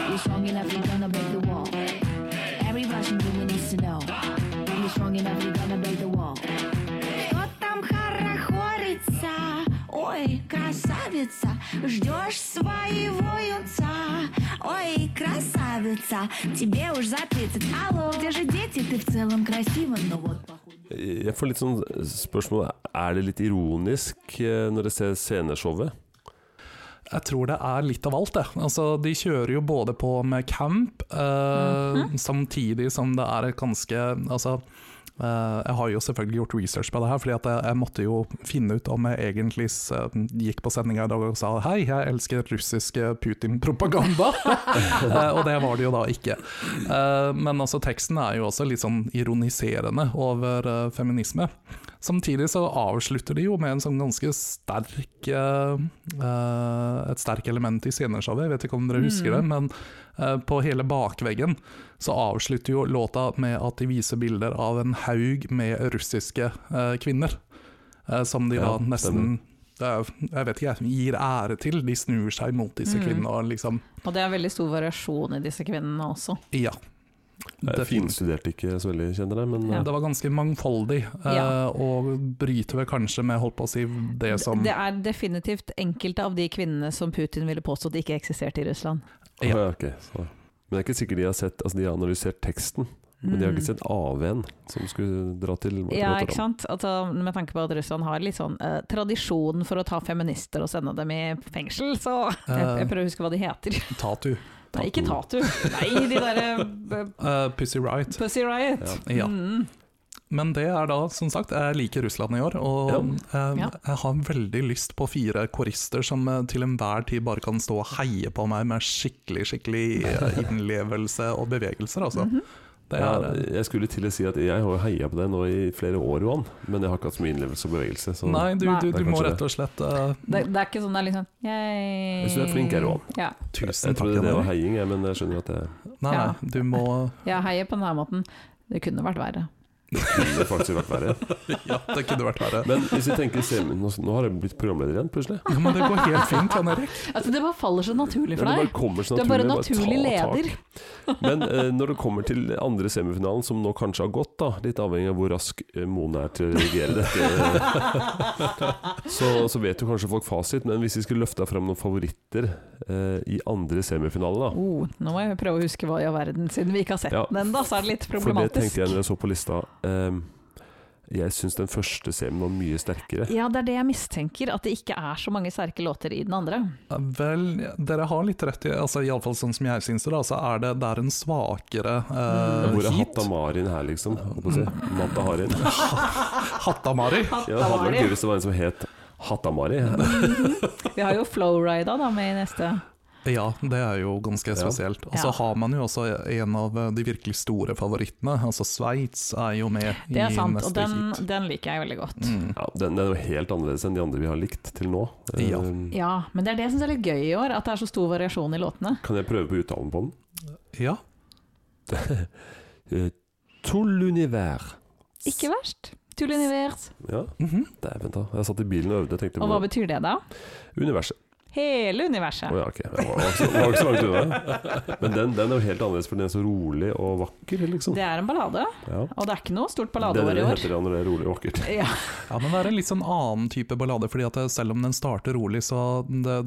F: you're strong enough, you're gonna break the wall. Every Russian woman needs to know you're strong enough, you're gonna break the wall.
G: Вот там хорохорится, ой, красавица, ждешь своего юнца, ой, красавица, тебе уж за 30, алло, где же дети, ты в целом красива, но вот похоже.
A: Jeg får litt sånn spørsmål Er det litt ironisk eh, når jeg ser sceneshowet?
B: Jeg tror det er litt av alt, det. Altså, de kjører jo både på med camp, eh, samtidig som det er et ganske Altså, eh, jeg har jo selvfølgelig gjort research på det her, fordi at jeg, jeg måtte jo finne ut om jeg egentlig s- eh, gikk på sendinga i dag og sa hei, jeg elsker russisk eh, Putin-propaganda. Eh, og det var det jo da ikke. Eh, men altså, teksten er jo også litt sånn ironiserende over eh, feminisme. Samtidig så avslutter de jo med en sånn ganske sterk eh, eh, Et sterk element i sceneshowet. Jeg vet ikke om dere husker det, men eh, på hele bakveggen så avslutter jo låta med at de viser bilder av en haug med russiske eh, kvinner. eh, som de
A: Ja,
B: da nesten det er, jeg vet ikke, jeg gir ære til. De snur seg mot disse
C: Mm.
B: kvinnene og liksom
C: Og det er veldig stor variasjon i disse kvinnene også.
B: Ja.
A: Jeg
B: Definitivt.
A: finstuderte ikke så veldig, kjenner jeg, men
C: Ja.
A: eh,
B: Det var ganske mangfoldig, eh,
C: Ja.
B: og bryter vel kanskje med holdt på å si det som
C: Det er definitivt enkelte av de kvinnene som Putin ville påstått ikke eksisterte i Russland.
B: Ja.
A: Å, ja, ok, så. Men det er ikke sikkert de har sett Altså, de har analysert teksten, men de har ikke sett AV-en som skulle dra til
C: Mm. Ja,
A: Rotterdam.
C: ikke sant? Altså, med tanke på at Russland har litt sånn eh, tradisjon for å ta feminister og sende dem i fengsel, så jeg, jeg prøver å huske hva de heter.
B: Tatu.
C: Nei, ikke Tatu. Nei, de derre
B: Eh, Pussy Riot.
C: Pussy Riot.
B: Ja.
C: Mm.
B: Men det er da, som sagt, jeg liker Russland i år, og eh,
C: Ja.
B: jeg har veldig lyst på fire korister som eh, til enhver tid bare kan stå og heie på meg med skikkelig, skikkelig eh, innlevelse og bevegelser, altså.
C: Mhm.
B: Det
A: Ja,
B: er,
A: jeg skulle til å si at jeg har jo heia på deg nå i flere år, Johan, men jeg har ikke hatt så mye innlevelse og bevegelse. Så
B: Nei, du,
C: Nei.
B: du,
A: Det er
B: du må
A: kanskje
B: rett og slett eh,
C: Det, det er ikke sånn det er liksom Jeg
A: Jeg synes du er flink her, Roan.
C: Ja.
B: Tusen
A: jeg
B: takk.
A: trodde det var
B: Jan Erik.
A: heiing, jeg, men jeg skjønner at jeg
B: Nei,
C: Ja.
B: nei, du må
C: Jeg heier på denne måten. Det kunne vært verre.
A: kunne faktisk vært verre.
B: Ja, det kunne vært verre.
A: Men hvis vi tenker semi, nå, nå har jeg blitt programleder igjen, plutselig.
B: Ja, men det går helt fint, Jan Erik.
C: Altså, det bare faller så
A: Ja,
C: naturlig for
A: det bare
C: deg.
A: kommer sånn så
C: Du er bare
A: naturlig,
C: naturlig
A: bare ta
C: leder.
A: tak. Men eh, når det kommer til andre semifinalen, som nå kanskje har gått, da, litt avhengig av hvor rask eh, Mone er til å reagere dette, så, så vet jo kanskje folk fasit, men hvis vi skulle løfta fram noen favoritter eh, i andre semifinale, da
C: Oh, nå må jeg prøve å huske hva i all verden, siden vi ikke har sett
A: Ja.
C: den ennå, så er det litt
A: For det
C: problematisk.
A: tenkte jeg når jeg så på lista. Ehm, jeg syns den første semien var mye sterkere.
C: Ja, det er det jeg mistenker, at det ikke er så mange sterke låter i den andre.
B: Ja, Vel, dere har litt rett i altså, Iallfall sånn som jeg syns det, da, så er det, det er en svakere eh,
A: Mm. Hvor er
B: heat.
A: Hatta Marin her, liksom? Holdt på å si. Matta Harin.
B: Hattamari.
A: Ja, det hadde vært gøy hvis det var en som het Hattamari.
C: Vi har jo Flowrida da med i neste.
B: Ja, det er jo ganske spesielt. Og så
C: Ja.
B: har man jo også en av eh, de virkelig store favorittene. Altså Sveits er jo med i
C: Det er sant, og
B: neste
C: den,
B: heat. Mm.
C: den liker jeg veldig godt.
A: Ja, den, den er jo helt annerledes enn de andre vi har likt til nå.
B: Ja.
A: Ehm,
C: Ja, men det er det jeg syns er litt gøy i år, at det er så stor variasjon i låtene.
A: Kan jeg prøve på uttalen på den?
B: Ja.
A: Eh, Tull univers.
C: Ikke verst. Tull univers.
A: Ja,
B: Mhm.
A: dæven ta. Jeg satt i bilen og øvde. tenkte
C: Og hva
A: på
C: betyr det da?
A: Universet. Å
C: Hele universet.
A: ja, ok. Jeg var, ikke så- var ikke så langt unna. Men den, den er jo helt annerledes, for den er så rolig og vakker, liksom.
C: Det er en ballade,
A: Ja.
C: og det er ikke noe stort
A: det er
C: balladeår
A: det
C: i
A: det
C: år.
A: heter ja, når det er rolig og vakkert.
C: Ja.
B: ja, men det er en litt sånn annen type ballade, fordi at eh, selv om den starter rolig, så det,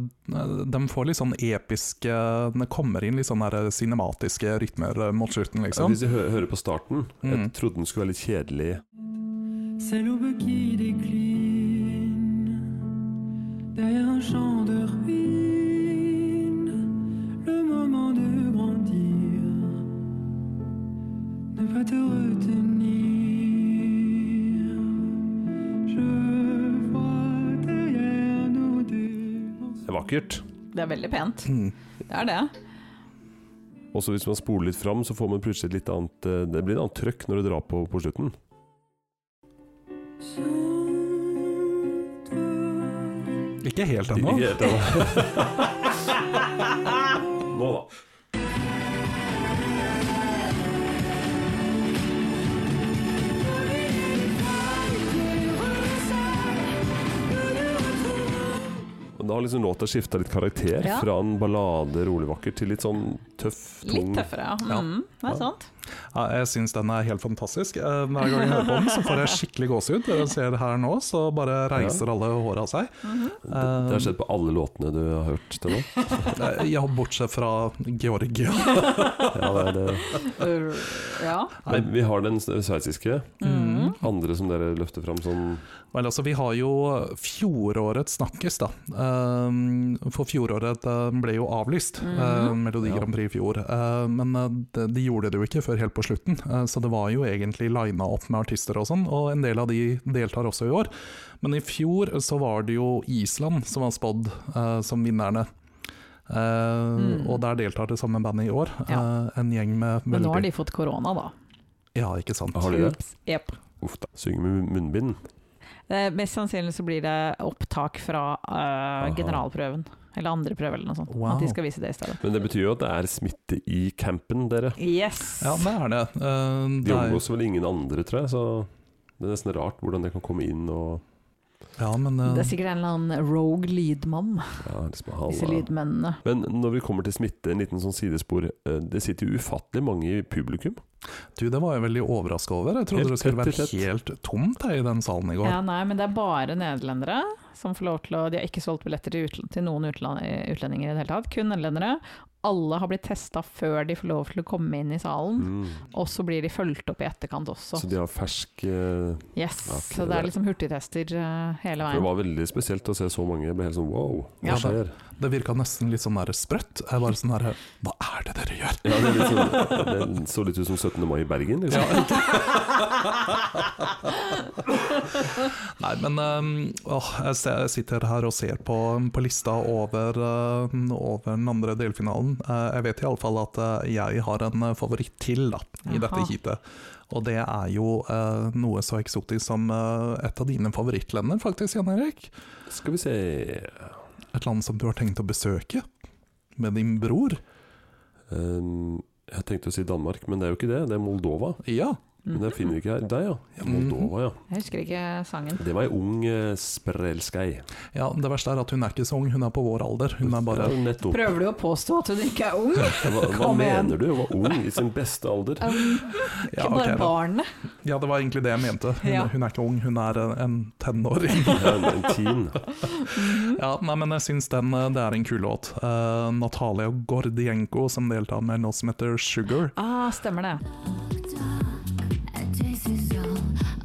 B: de får litt sånn episke Det kommer inn litt sånn der cinematiske rytmer mot slutten,
A: Ja,
B: liksom.
A: hvis vi hø hører på starten Jeg
B: Mm.
A: trodde den skulle være litt kjedelig.
H: C'est l'aube qui décline derrière un champ de ruines. Le moment de grandir, ne pas te retenir. Je vois derrière nos deux.
A: Det er vakkert.
C: Det er veldig pent.
B: Mm.
C: Det er det.
A: Og så hvis man spoler litt fram, så får man plutselig et litt annet eh, Det blir et annet trøkk når det drar på på slutten.
B: Ikke helt
A: Ikke
B: ennå.
A: helt ennå. Nå, da. Men Da har liksom låta skifta litt karakter,
C: Ja.
A: fra en ballade, rolig vakker, til litt sånn tøff, tung
C: Litt tøffere, ja.
B: Ja.
C: Mm, det er sant.
B: Ja, jeg syns den er helt fantastisk. Eh, Hver gang jeg hører på den, så får jeg skikkelig gåsehud. Dere ser her nå, så bare reiser alle håret av seg.
A: Mm-hmm. Det har skjedd på alle låtene du har hørt til nå.
B: Eh, Ja, bortsett fra Georgia.
A: Ja, det er det.
C: Uh, ja.
A: Men vi har den sveitsiske.
C: Mm.
A: Andre som dere løfter fram som
B: Vel, altså, vi har jo fjorårets snakkis, da. Ehm, For fjoråret eh, ble jo avlyst, eh,
C: Mhm.
B: Melodi Grand Prix i fjor. Eh, Men eh, de- de gjorde det jo ikke før helt på slutten, eh, så det var jo egentlig lina opp med artister og sånn, og en del av de deltar også i år. Men i fjor så var det jo Island som var spådd eh, som vinnerne. Eh, Og der deltar det samme bandet i år.
C: Mm. Ja.
B: Eh, en gjeng med veldig
C: Men nå har de fått korona, da.
B: Ja, ikke sant.
A: Har de det?
C: Ups. Jep.
A: Uff da. Synger med munnbind.
C: Eh, Mest sannsynlig så blir det opptak fra eh, generalprøven. Eller andre prøve, eller noe sånt.
B: Wow.
C: At de skal vise det i stedet.
A: Men det betyr jo at det er smitte i campen, dere.
C: Yes!
B: Ja, det er det. Eh,
A: De
B: det er-
A: omgås vel ingen andre, tror jeg, så det er nesten rart hvordan det kan komme inn og
B: Ja, men
A: øh.
B: eh,
C: Det er sikkert en eller annen rogue lydmann,
A: Ja, liksom, han,
C: disse
A: eh,
C: lydmennene.
A: Men når vi kommer til smitte, en liten sånn sidespor. eh, Det sitter jo ufattelig mange i publikum.
B: du, det var jeg veldig overraska over. Jeg
A: Helt
B: trodde det skulle
A: tett i
B: være
A: tett.
B: helt tomt jeg, i den salen i går.
C: Ja, nei, men det er bare nederlendere som får lov til å De har ikke solgt billetter til, utl- til noen utland, utlendinger i det hele tatt, kun nederlendere. Alle har blitt testa før de får lov til å komme inn i salen, og så blir de fulgt opp i etterkant også.
A: Mm. Så de har fersk eh,
C: Yes,
A: Ja, ok,
C: så det
A: det-
C: er liksom hurtigtester eh, hele
A: For det
C: veien.
A: var veldig spesielt å se så mange. Jeg ble helt sånn wow, hva
B: Ja,
A: skjer?
B: Det virka nesten litt sånn der sprøtt. Jeg var sånn der, Hva er det dere gjør?
A: Ja, det, er litt sånn, det så litt ut som 17. mai i Bergen, liksom.
B: Nei, men ehm, åh, jeg, ser, jeg sitter her og ser på, på lista over, ehm, over den andre delfinalen. Eh, jeg vet iallfall at eh, jeg har en eh, favoritt til da, i dette
C: Jaha.
B: heatet. Og det er jo eh, noe så eksotisk som eh, et av dine favorittlander, faktisk, Jan Erik.
A: Skal vi se
B: Et land som du har tenkt å besøke med din bror.
A: Ehm, Jeg tenkte å si Danmark, men det er jo ikke det. Det er Moldova.
B: Ja.
A: Men det finner vi ikke her. Der, ja. ja Moldova, ja.
C: Jeg husker ikke sangen.
A: Det var ei ung eh, sprelskei.
B: ja. Det verste er at hun er ikke så ung, hun er på vår alder. Hun er bare
A: Ja, nettopp.
C: Prøver du å påstå at hun ikke er ung?
A: Hva, hva
C: Kom igjen.
A: mener du? Hun var ung i sin beste alder.
B: ja,
C: Ikke
B: ok,
C: bare
B: da.
C: barnet?
B: Ja, det var egentlig det jeg mente. Hun,
C: Ja.
B: hun er ikke ung, hun er en- en tenåring.
A: Ja, en, en teen.
B: ja, nei, men jeg syns den eh, det er en kul låt. Eh, Natalia Gordienko som deltar med noe som heter Sugar.
C: Ah, stemmer det.
E: This is all,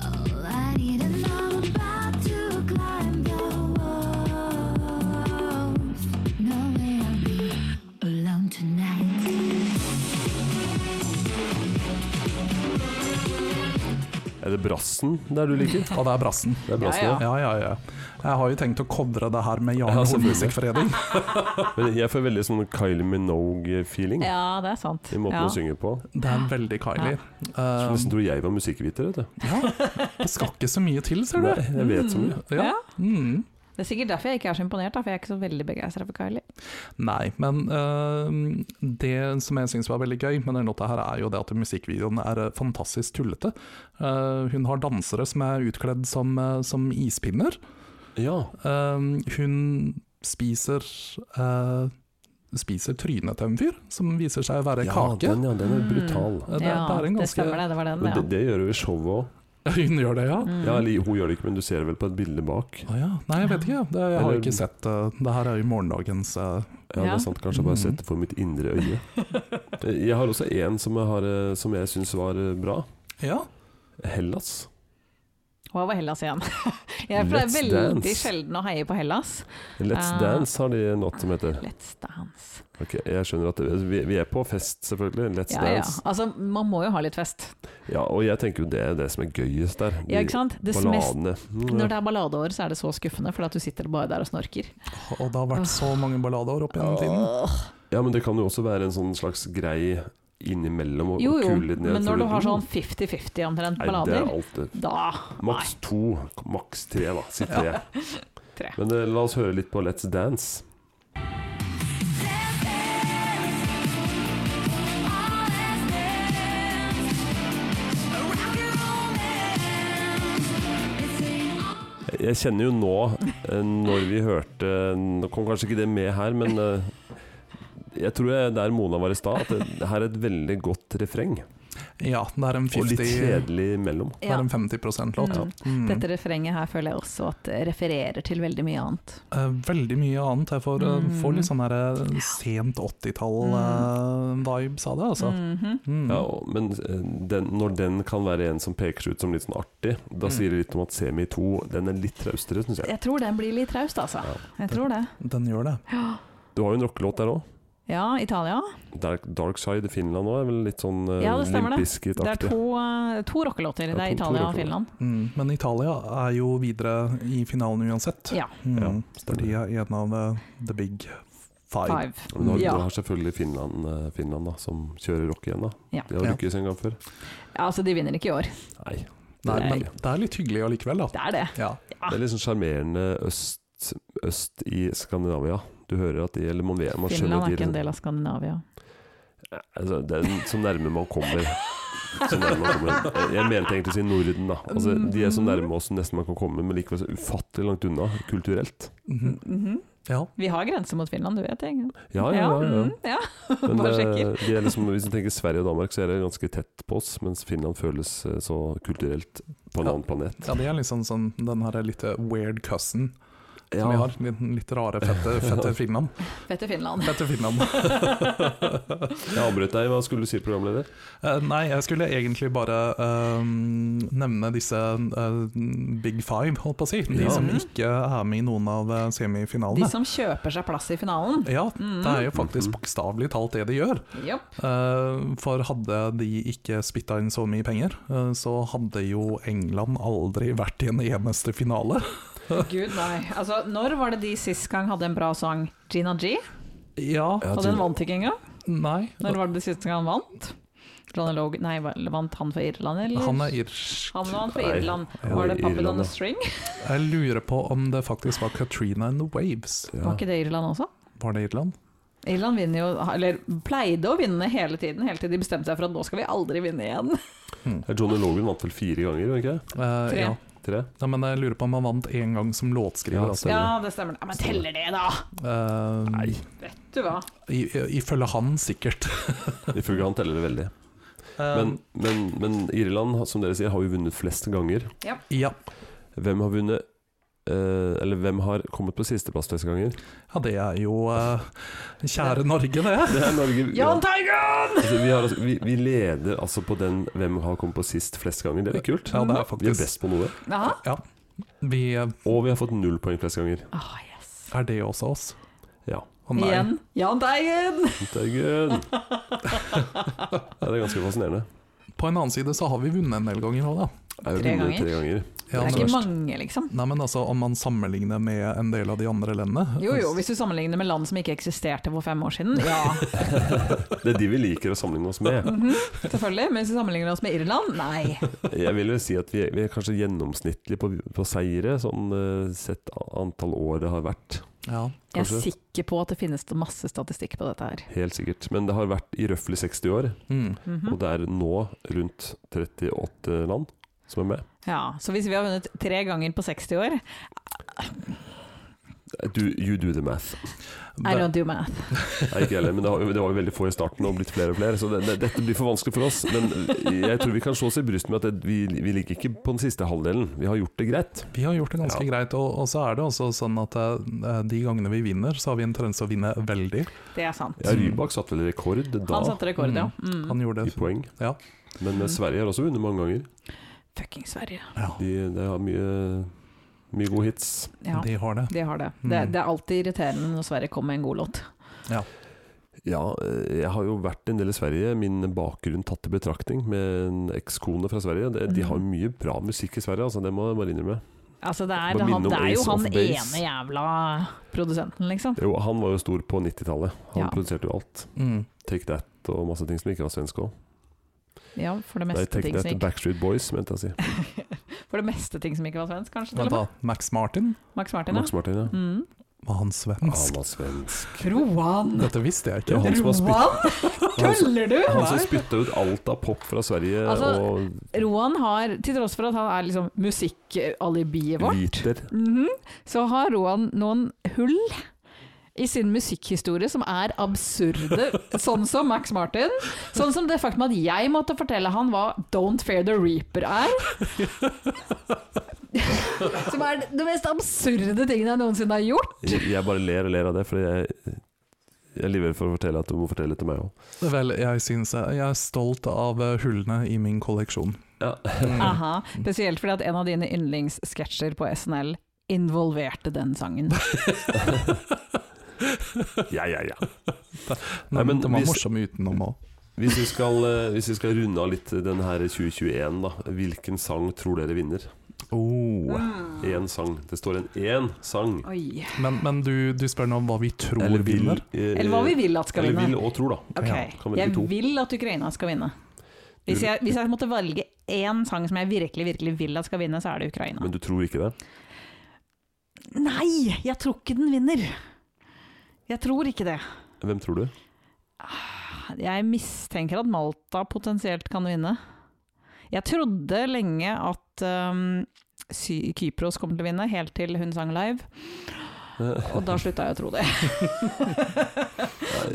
E: all I need and I'm about to climb your walls No way I'll be alone tonight
A: Er det brassen der du liker?
B: Og det er brassen.
A: Det er brassen, ja.
C: Ja,
B: Ja, ja, ja. Jeg har jo tenkt å covre det her med Jarle
A: Ja,
B: Horn
A: selvfølgelig.
B: Musikkforening.
A: Men jeg får veldig sånn Kylie Minogue-feeling
C: Ja, det er sant.
A: i måten
C: Ja.
A: hun synger på.
B: Det er veldig Kylie.
A: Jeg
B: Eh,
A: nesten tror jeg var musikkviter, vet du.
B: det skal ikke så mye til, ser
A: Nei,
B: du.
A: jeg vet så mye.
B: Ja. Mm.
C: Det er sikkert derfor jeg ikke er så imponert, da, for jeg er ikke så veldig begeistra for Kylie.
B: Nei, men eh, det som jeg syns var veldig gøy med denne låta, her er jo det at musikkvideoen er eh, fantastisk tullete. Eh, hun har dansere som er utkledd som, eh, som ispinner. Mm.
A: Ja,
B: Eh, hun spiser eh, Spiser trynet til en fyr, som viser seg å være
A: ja
B: kake.
A: den, ja, den er brutal.
B: Eh, det,
C: ja,
B: det er en
C: det
B: ganske
C: stemmer Mm. det, det var den,
A: Men
C: Mm. ja.
A: det, det gjør hun i showet òg.
B: Hun gjør det, ja? Å
A: Ja, eller hun gjør det ikke, men du ser det vel på et bilde bak.
B: ja. Nei, jeg vet ikke. Det, jeg har
A: Eller-
B: ikke sett det. Det her er jo morgendagens eh,
A: Ja, det
C: Ja.
A: er sant. Kanskje jeg
B: Mm.
A: bare sett det for mitt indre øye. Eh, Jeg har også en som jeg, har, eh, som jeg syns var eh, bra.
B: Ja.
A: Hellas.
C: Hva var Hellas igjen? Jeg er
A: Let's
C: veldig
A: Dance.
C: sjelden å heie på Hellas.
A: Let's
C: Ah.
A: Dance har de en låt som heter.
C: Let's dance.
A: Ok, jeg skjønner at det, vi, vi er på fest, selvfølgelig. Let's
C: Ja, ja.
A: Dance.
C: Altså, man må jo ha litt fest.
A: Ja, og jeg tenker jo det er det som er gøyest der.
C: Ja, ikke sant? Det mest,
A: Balladene. Mm,
C: når det er balladeår, så er det så skuffende, for at du sitter bare der og snorker.
B: Og det har vært så mange ballader opp gjennom tiden.
C: Åh.
A: Ja, men det kan jo også være en sånn slags grei innimellom og
C: Jo, jo,
A: kule litt ned.
C: men
A: for
C: når du har sånn
A: mm,
C: 50-50 omtrent
A: Nei, det er
C: ballader,
A: alt det.
C: da Nei.
A: Maks to, maks tre, da. Si tre.
C: Tre.
A: Men eh, la oss høre litt på Let's Dance. Jeg kjenner jo nå, eh, når vi hørte Nå kom kanskje ikke det med her, men eh, jeg tror jeg der Mona var i stad, at det her er et veldig godt refreng.
B: Ja, det er en
A: Og litt
B: 50
A: kjedelig imellom.
B: Det er en 50 %-låt.
C: Mm. Dette refrenget her føler jeg også at det refererer til veldig mye annet.
B: Eh, veldig mye annet. Jeg får, eh,
C: Mm.
B: får litt sånn der, eh, sent 80-tall-vibes av det, altså. Mm.
C: Mhm.
A: Ja, og- men eh, den, når den kan være en som peker seg ut som litt sånn artig, da
B: Mm.
A: sier det litt om at Semi 2 den er litt traustere, syns jeg.
C: Jeg tror den blir litt traust, altså. Jeg tror det.
B: Den gjør det.
A: Du har jo en rockelåt der òg.
C: Ja, Italia.
A: Dark, Dark Side i Finland òg er vel litt sånn uh,
C: Ja, det stemmer det.
A: limpiskit
C: Det er
A: aktig.
C: to, eh, to rockelåter.
A: Ja,
C: Det er
A: to- to
C: Italia og
A: rockelåter.
C: Finland.
B: Mm. Men Italia er jo videre i finalen uansett.
C: Ja,
B: Mm.
A: Ja,
B: For
A: stemmer.
B: de er en av eh, the big five.
C: five.
A: Men du har,
C: Ja.
A: du har selvfølgelig Finland, eh, Finland da, som kjører rock igjen, da.
C: Ja.
A: De har
B: Ja.
A: lykkes en gang før.
C: Ja, altså, de vinner ikke i år.
A: Nei.
B: Nei,
A: Nei.
B: men det er litt hyggelig allikevel, da.
C: Det er det.
B: Ja.
A: Det er litt sånn sjarmerende øst, øst i Skandinavia. Du hører at liksom- de Eller man, vet, man skjønner at
C: Finland er
A: de
C: ikke en del av Skandinavia.
A: altså, Det er så nærme man kommer. Så nærme man kommer. Jeg mente egentlig å si Norden, da. Altså, de er så nærme oss nesten man kan komme, men likevel så ufattelig langt unna kulturelt.
B: Mhm.
C: Mhm.
B: Ja.
C: Vi har grense mot Finland, du vet det? ikke sant?
A: Ja, ja, ja. ja.
C: mm, ja.
A: Men
C: Bare
A: eh,
C: sjekker.
A: de er liksom, hvis du tenker Sverige og Danmark, så er det ganske tett på oss, mens Finland føles eh, så kulturelt på en
B: Ja.
A: annen planet.
B: ja, det er liksom sånn den her litt weird cousin som vi har. Litt, litt rare, fette, fette Finland.
C: Fett i Finland.
B: Fette Finland.
A: Jeg avbrøt deg, hva skulle du si, programleder?
B: Eh, nei, jeg skulle egentlig bare eh, nevne disse eh, big five, holdt på å si. De
A: Ja.
B: som ikke er med i noen av eh, semifinalene.
C: De som kjøper seg plass i finalen.
B: Ja,
A: Mm.
B: det er jo
A: Mm-hmm.
B: faktisk bokstavelig talt det de gjør.
C: Jopp.
B: Eh, For hadde de ikke spytta inn så mye penger, eh, så hadde jo England aldri vært i en eneste finale.
C: Gud, nei. Altså, når var det de sist gang hadde en bra sang? Gina G?
B: Ja,
A: Ja, Gina-
C: Og den vant ikke engang?
B: nei
C: Når var det de siste gang han vant? Johnny Logan, nei, vant han for Irland, eller?
B: Han er irsk.
C: Han vant for
A: Nei,
C: Irland.
A: han
C: Var
A: er
C: det Puppet
A: Irland,
C: on
A: ja.
C: a String?
B: Jeg lurer på om det faktisk var Katrina and the Waves.
A: Ja.
C: Var ikke det Irland også?
B: Var det Irland?
C: Irland vinner jo, eller pleide å vinne hele tiden, helt til de bestemte seg for at nå skal vi aldri vinne igjen.
A: Ja, Eh, Johnny Logan vant vel fire ganger, gjorde han ikke det?
B: Eh, Ja.
A: Tre?
B: ja, men jeg lurer på om han vant én gang som låtskriver.
A: Ja,
B: altså.
A: stemmer.
C: Ja, det stemmer. Ja, men teller det, da!
B: Eh,
A: Nei,
C: Vet du hva.
B: i- i- Ifølge han, sikkert.
A: ifølge han teller det veldig. Men, men, men Irland, som dere sier, har jo vunnet flest ganger.
B: Eh, ja.
A: Hvem har vunnet eh, Eller hvem har kommet på sisteplass flest ganger?
B: ja, det er jo eh, Kjære Norge, det.
A: Det er Norge. Ja.
C: Jahn Teigen!
A: Altså, vi, har, altså, vi, vi leder altså på den hvem har kommet på sist flest ganger. Det er litt kult.
B: Ja, det er
A: Vi er
B: faktisk
A: best på noe.
C: Jaha.
B: Ja. Vi, eh,
A: Og vi har fått null poeng flest ganger.
C: Ah, yes.
B: er det også oss?
A: Ja.
B: Å nei.
C: Igjen. Jahn Teigen!
A: Teigen! Ja, det er ganske fascinerende.
B: På en annen side så har vi vunnet en del ganger nå, da.
A: Jeg har jo
C: Tre
A: vunnet
C: ganger.
A: Tre ganger.
C: Det
B: Ja,
C: er
B: men,
C: ikke mange, liksom.
B: nei, men altså, om man sammenligner med en del av de andre landene
C: Jo jo, hvis du sammenligner med land som ikke eksisterte for fem år siden. Ja,
A: Det er de vi liker å sammenligne oss med.
C: selvfølgelig. Men hvis du sammenligner oss med Irland, nei.
A: Jeg vil jo si at vi er, vi er kanskje gjennomsnittlig på, på seire, sånn eh, sett a- antall år det har vært.
B: Ja.
C: Jeg er
A: Kanskje.
C: sikker på at det finnes masse statistikk på dette her.
A: Helt sikkert. Men det har vært i røftlig 60 år,
B: Mm.
C: Mhm.
A: og det er nå rundt 38 land som er med.
C: Ja, Så hvis vi har vunnet tre ganger på 60 år
A: Du, you do the math.
C: I
B: Det,
C: don't do math.
A: Nei, ikke heller, men det, har, det var jo veldig få i starten og blitt flere og flere, så det, det, dette blir for vanskelig for oss. Men jeg tror vi kan slå oss i brystet med at det, vi, vi ligger ikke på den siste halvdelen. Vi har gjort det greit.
B: vi har gjort det ganske greit, og, og så er det også sånn at eh, de gangene vi vinner, så har vi en tendens til å vinne veldig.
C: Det er sant.
A: Ja, Rybak satte vel rekord da
C: Han satte rekord, ja. Mm.
B: Han gjorde
A: i
B: det.
A: poeng,
B: Ja.
A: men eh, Sverige har også vunnet mange ganger.
C: Fucking Sverige.
B: Ja,
A: De, de har mye, mye gode hits.
C: Ja,
B: de har det.
C: de har det. det. Det er alltid irriterende når Sverige kommer med en god låt.
A: Ja, eh, jeg har jo vært en del i Sverige, min bakgrunn tatt i betraktning, med en ekskone fra Sverige. De, de
C: Mhm.
A: har mye bra musikk i Sverige, altså, det må jeg bare innrømme.
C: Altså, det
A: Må
C: er,
A: minne
C: han,
A: om
C: det er jo
A: Ace
C: han
A: of Base.
C: ene jævla produsenten, liksom.
A: Jo, han var jo stor på 90-tallet. Han
C: Ja.
A: produserte jo alt.
B: Mm.
A: Take That og masse ting som ikke var svensk òg.
C: Ja, for det
A: Nei,
C: meste
A: Take
C: ting
A: That
C: som
A: og
C: ikke,
A: Backstreet Boys, mente jeg å si.
C: for det meste ting som ikke var svensk, kanskje.
B: Vent
C: Til
B: da,
C: og
B: Max Martin
C: med. Max Martin, ja.
A: Max Martin, ja.
C: Mm.
B: var han svensk?
A: Han var svensk.
C: Roan!
B: Dette visste jeg
A: Ja,
B: ikke.
A: han som har spytt-
C: Roan? Køller du?
A: Han som spytta ut alt av pop fra Sverige
C: Altså,
A: og
C: Roan har, til tross for at han er liksom musikkalibiet vårt,
A: liter.
C: Mhm. så har Roan noen hull i sin musikkhistorie som er absurde, sånn som Max Martin. Sånn som det faktum at jeg måtte fortelle han hva Don't Fear the Reaper er. Som er det mest absurde tingen jeg noensinne har gjort.
A: Jeg jeg bare ler og ler av det, for jeg, jeg er livredd for å fortelle at du må fortelle det til meg òg.
B: Vel, jeg syns jeg, jeg er stolt av eh, hullene i min kolleksjon. Mm.
C: Aha. Spesielt fordi at en av dine yndlingssketsjer på SNL involverte den sangen.
A: Ja, ja, ja. Nei,
B: Nei,
A: men
B: men den var
A: hvis-
B: morsom utenom òg.
A: Hvis vi skal, eh, hvis vi skal runde av litt den her 2021, da. Hvilken sang tror dere vinner?
B: Oh.
C: Mm.
A: Én sang. Det står en én sang.
C: Oi.
B: Men, men du, du spør nå om hva vi tror vinner?
A: eh,
C: Eller hva vi vil at skal
A: Eller vil
C: vinne.
A: og tror, da.
C: Ok,
B: Ja,
A: kan velge
C: Jeg
A: to.
C: vil at Ukraina skal vinne. Hvis
A: Du-
C: jeg, hvis jeg måtte velge én sang som jeg virkelig virkelig vil at skal vinne, så er det Ukraina.
A: Men du tror ikke det?
C: Nei, jeg tror ikke den vinner! Jeg tror ikke det.
A: Hvem tror du?
C: Jeg mistenker at Malta potensielt kan vinne. Jeg trodde lenge at um, Sy Kypros kom til å vinne, helt til hun sang live. Og da slutta jeg å tro det.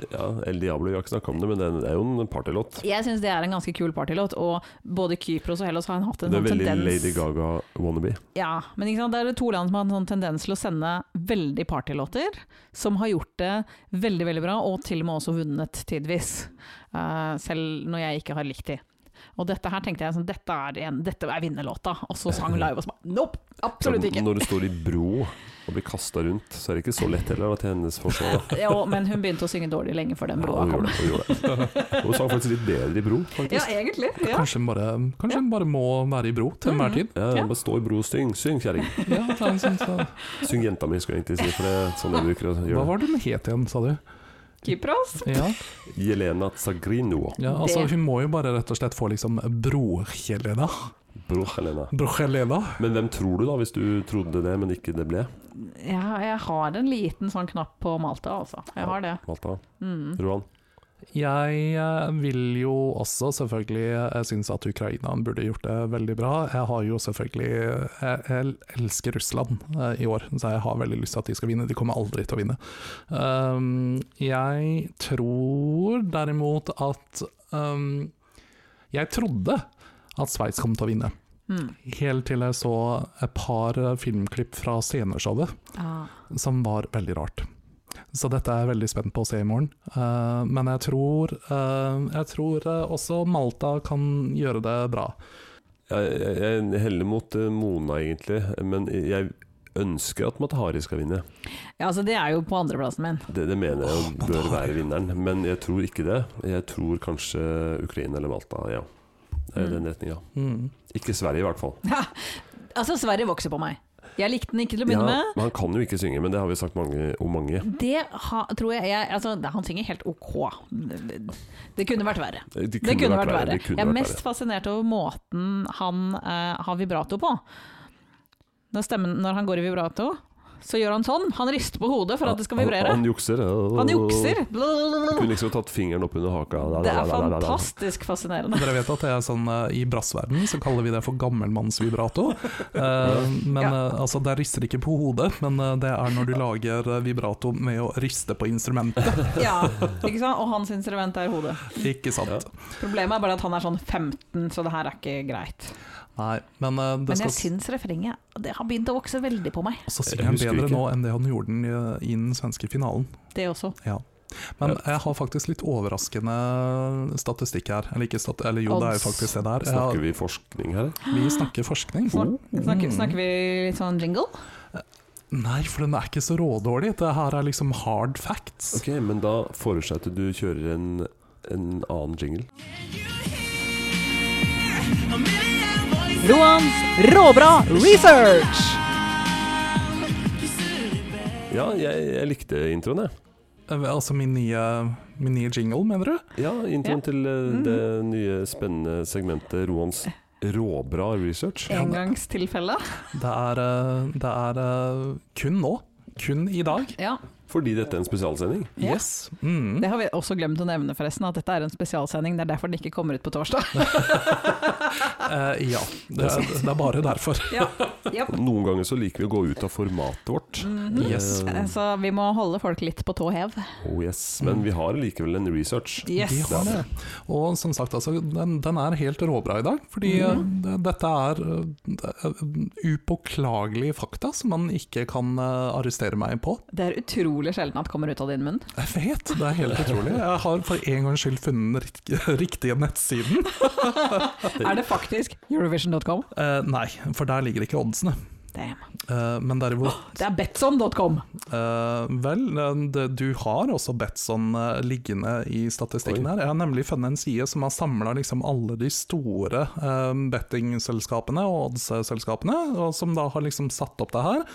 A: Ja, El Diablo, vi har ikke snakka om det, men det er jo en partylåt.
C: Jeg syns det er en ganske kul partylåt, og både Kypros og Hellas har hatt en
A: Det er
C: sånn
A: veldig
C: tendens
A: Lady Gaga wannabe.
C: Ja, men ikke sant? det er det to land som har en sånn tendens til å sende veldig partylåter, som har gjort det veldig veldig bra, og til og med også vunnet tidvis. Eh, selv når jeg ikke har likt de. Og dette her tenkte jeg sånn, dette er, en, dette er vinnerlåta, og så sang live og så bare nope! Absolutt ikke!
A: Når du står i bro og blir kasta rundt, så er det ikke så lett heller, da, til hennes forsvar. da.
C: Jo, men hun begynte å synge dårlig lenge før den
A: Ja,
C: broa
A: hun
C: kom.
A: gjorde det, hun gjorde det. Og hun sang faktisk litt bedre i bro,
C: Ja,
A: faktisk.
C: egentlig. Ja. Mm.
B: Kanskje hun bare, kanskje hun bare må være i bro til enhver tid.
A: Ja, bare stå i bro og syng, syng kjerring.
B: Ja, det er en sånn, så.
A: Syng jenta mi, skulle jeg egentlig si, for det er sånn jeg bruker å
B: Hva
A: gjøre det.
B: var det hun het igjen, sa du?
C: Kypros.
B: Ja,
A: Jelena Zagrino.
B: ja altså
C: Det-
B: Hun må jo bare rett og slett få liksom brorkjelena.
A: Bro, Helena.
B: Brorkjelena.
A: Men hvem tror du, da, hvis du trodde det, men ikke det ble?
C: Ja, jeg har en liten sånn knapp på Malta, altså. Jeg har det. Mm.
A: Malta? Roan?
B: Jeg eh, vil jo også selvfølgelig Jeg synes at Ukraina burde gjort det veldig bra. Jeg har jo selvfølgelig Jeg, jeg elsker Russland eh, i år, så jeg har veldig lyst til at de skal vinne. De kommer aldri til å vinne. Um, jeg tror derimot at um, Jeg trodde at Sveits kom til å vinne. Helt til jeg så et par eh, filmklipp fra sceneshowet som var veldig rart. Så dette er jeg veldig spent på å se i morgen. Eh, men jeg tror, eh, jeg tror eh, også Malta kan gjøre det bra.
A: Jeg, jeg, jeg heller mot eh, Mona, egentlig, men jeg ønsker at Matahari skal vinne.
C: Ja, altså, det er jo på andreplassen min.
A: Det, det mener jeg bør være vinneren, men jeg tror ikke det. Jeg tror kanskje Ukraina eller Malta, ja. Det er den retninga.
B: Mm.
A: Ikke Sverige, i hvert fall.
C: Altså, Sverige vokser på meg. Jeg likte den ikke til å
A: Ja,
C: begynne med. Mm.
A: men han kan jo ikke synge, men det har vi sagt mange, om mange.
C: Det ha, tror jeg, jeg altså, det- Han synger helt ok. Det, det kunne vært verre.
A: Det
C: Det kunne vært verre.
A: Det kunne
C: Jeg er
A: vært
C: mest fascinert over måten han eh, har vibrato på. Når, stemmen, når han går i vibrato, så gjør han sånn. Han rister på hodet for at det skal vibrere.
A: Han, han jukser.
C: Han jukser!
A: Kunne liksom tatt fingeren opp under haka. Da, da,
C: Det
A: da, da,
C: er
A: da, da.
C: fantastisk fascinerende.
B: Dere vet at det er sånn eh, I brassverden så kaller vi det for gammelmannsvibrato. Eh, men
C: Ja.
B: eh, altså, det rister ikke på hodet, men eh, det er når du lager eh, vibrato med å riste på instrumentet.
C: Ja, ikke sant? Og hans instrument er hodet.
B: Ikke sant?
C: Problemet er bare at han er sånn 15, så det her er ikke greit.
B: Nei, men eh, det
C: Men jeg
B: skal
C: syns refrenget det har begynt å vokse veldig på meg,
B: så
A: Jeg
B: synger han
A: husker
B: bedre
A: ikke.
B: nå enn det han gjorde den i- i den svenske finalen.
C: det også.
B: Ja. Men jeg har faktisk litt overraskende statistikk her. Eller, ikke stat eller jo, det er jo
C: Odds.
B: faktisk det der.
A: Snakker vi forskning her?
B: Vi snakker forskning. Mm.
C: Snak, snakker, snakker vi litt sånn jingle?
B: Nei, for den er ikke så rådårlig. Det her er liksom hard facts.
A: Ok, men da foreslår jeg at du kjører en, en annen jingle.
C: Roans råbra research!
A: Ja, jeg, jeg likte introen, jeg.
B: Eh, Altså min nye, min nye jingle, mener du?
A: Ja, introen til
C: Mm.
A: eh, det nye spennende segmentet Roans råbra research.
C: Engangstilfelle.
B: Det er, eh, det er eh, kun nå. Kun i dag.
C: Ja.
A: Fordi dette er en spesialsending.
C: Ja.
B: Yes. Mm.
C: Det har vi også glemt å nevne, forresten, at dette er en spesialsending. Det er derfor den ikke kommer ut på torsdag.
B: Eh, ja. Det, er- det er bare derfor.
C: ja.
A: Noen ganger så liker vi å gå ut av formatet vårt.
B: Yes.
A: Eh,
C: Mm. Så vi må holde folk litt på tå hev.
A: oh yes. Men vi har likevel en research.
B: Vi
C: Mm. Yes.
B: har det. Og som sagt, altså, den, den er helt råbra i dag. Fordi eh, det- dette er eh, eh, upåklagelige fakta som man ikke kan eh, arrestere meg på.
C: Det er utrolig sjelden at det kommer ut av din munn.
B: Jeg vet, det er helt utrolig. Jeg har for en gangs skyld funnet den rikt- riktige nettsiden.
C: Er det faktisk Eurovision.com?
B: Eh, nei, for der ligger ikke oddsene.
C: Damn.
B: Eh, men derimot
C: Det er Betson.com!
B: eh, Vel, eh, det, du har også Betson eh, liggende i statistikken her. Jeg har nemlig funnet en side som har samla liksom alle de store eh, bettingselskapene og oddsselskapene, og som da har liksom satt opp det her.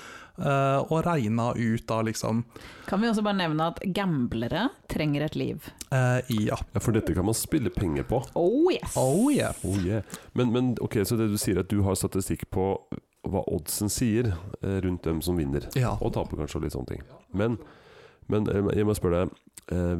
B: eh, og regna ut da liksom
C: Kan vi også bare nevne at gamblere trenger et liv.
B: eh, Ja.
A: Ja, for dette kan man spille penger på.
C: Oh yes!
B: Oh yeah.
A: Oh yeah. men, men ok, så det du sier er at du har statistikk på hva oddsen sier eh, rundt dem som vinner.
B: Ja.
A: Og taper kanskje og litt sånne ting. Men, men eh, jeg må spørre deg, eh,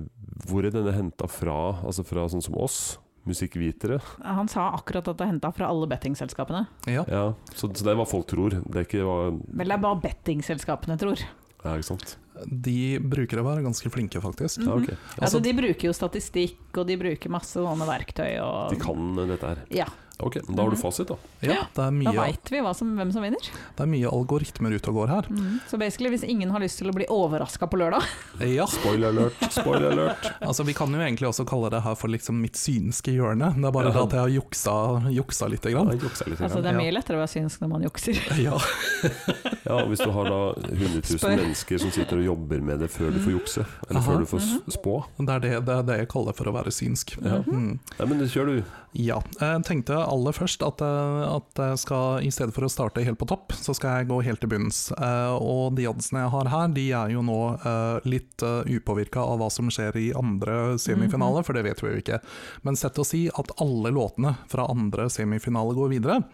A: hvor er denne henta fra? Altså fra sånn som oss? musikkvitere.
C: Han sa akkurat at det er henta fra alle bettingselskapene.
B: Ja.
A: Ja, så, så det er hva folk tror. Det er ikke hva
C: Vel, det er bare bettingselskapene tror.
A: Ja, ikke sant?
B: De brukere var ganske flinke, faktisk.
A: Ja, ok.
C: Altså,
B: Altså,
C: de bruker jo statistikk, og de bruker masse sånne verktøy og
A: De kan eh, dette her.
C: Ja.
A: Ok, men Da har du
C: Mhm.
A: fasit, da.
B: ja, det er
C: Da
B: mye,
C: veit vi hva som, hvem som vinner.
B: det er mye algoritmer ute og går her.
C: Så basically, hvis ingen har lyst til å bli overraska på lørdag
B: Ja,
A: Spoiler alert, spoiler alert.
B: altså Vi kan jo egentlig også kalle det her for liksom mitt synske hjørne. Det er bare
A: Ja.
B: det at jeg har juksa, juksa lite grann.
A: Jeg jukser litt.
C: Altså,
A: grann.
C: det
B: Ja.
C: er mye lettere å være synsk når man jukser.
B: Ja,
A: Ja, Hvis du har da 100
C: Spør.
A: 000 mennesker som sitter og jobber med det før du får jukse, eller
B: Aha.
A: før du får
C: Mhm.
A: s- spå.
B: det er det, det er det jeg kaller for å være synsk.
A: Ja.
B: Mm.
A: Nei, men kjør, du.
B: Ja. Jeg tenkte aller først at, eh, at jeg skal, i stedet for å starte helt på topp, så skal jeg gå helt til bunns. Eh, Og de oddsene jeg har her, de er jo nå eh, litt upåvirka av hva som skjer i andre semifinale, for det vet vi jo ikke. Men sett å si at alle låtene fra andre semifinale går videre.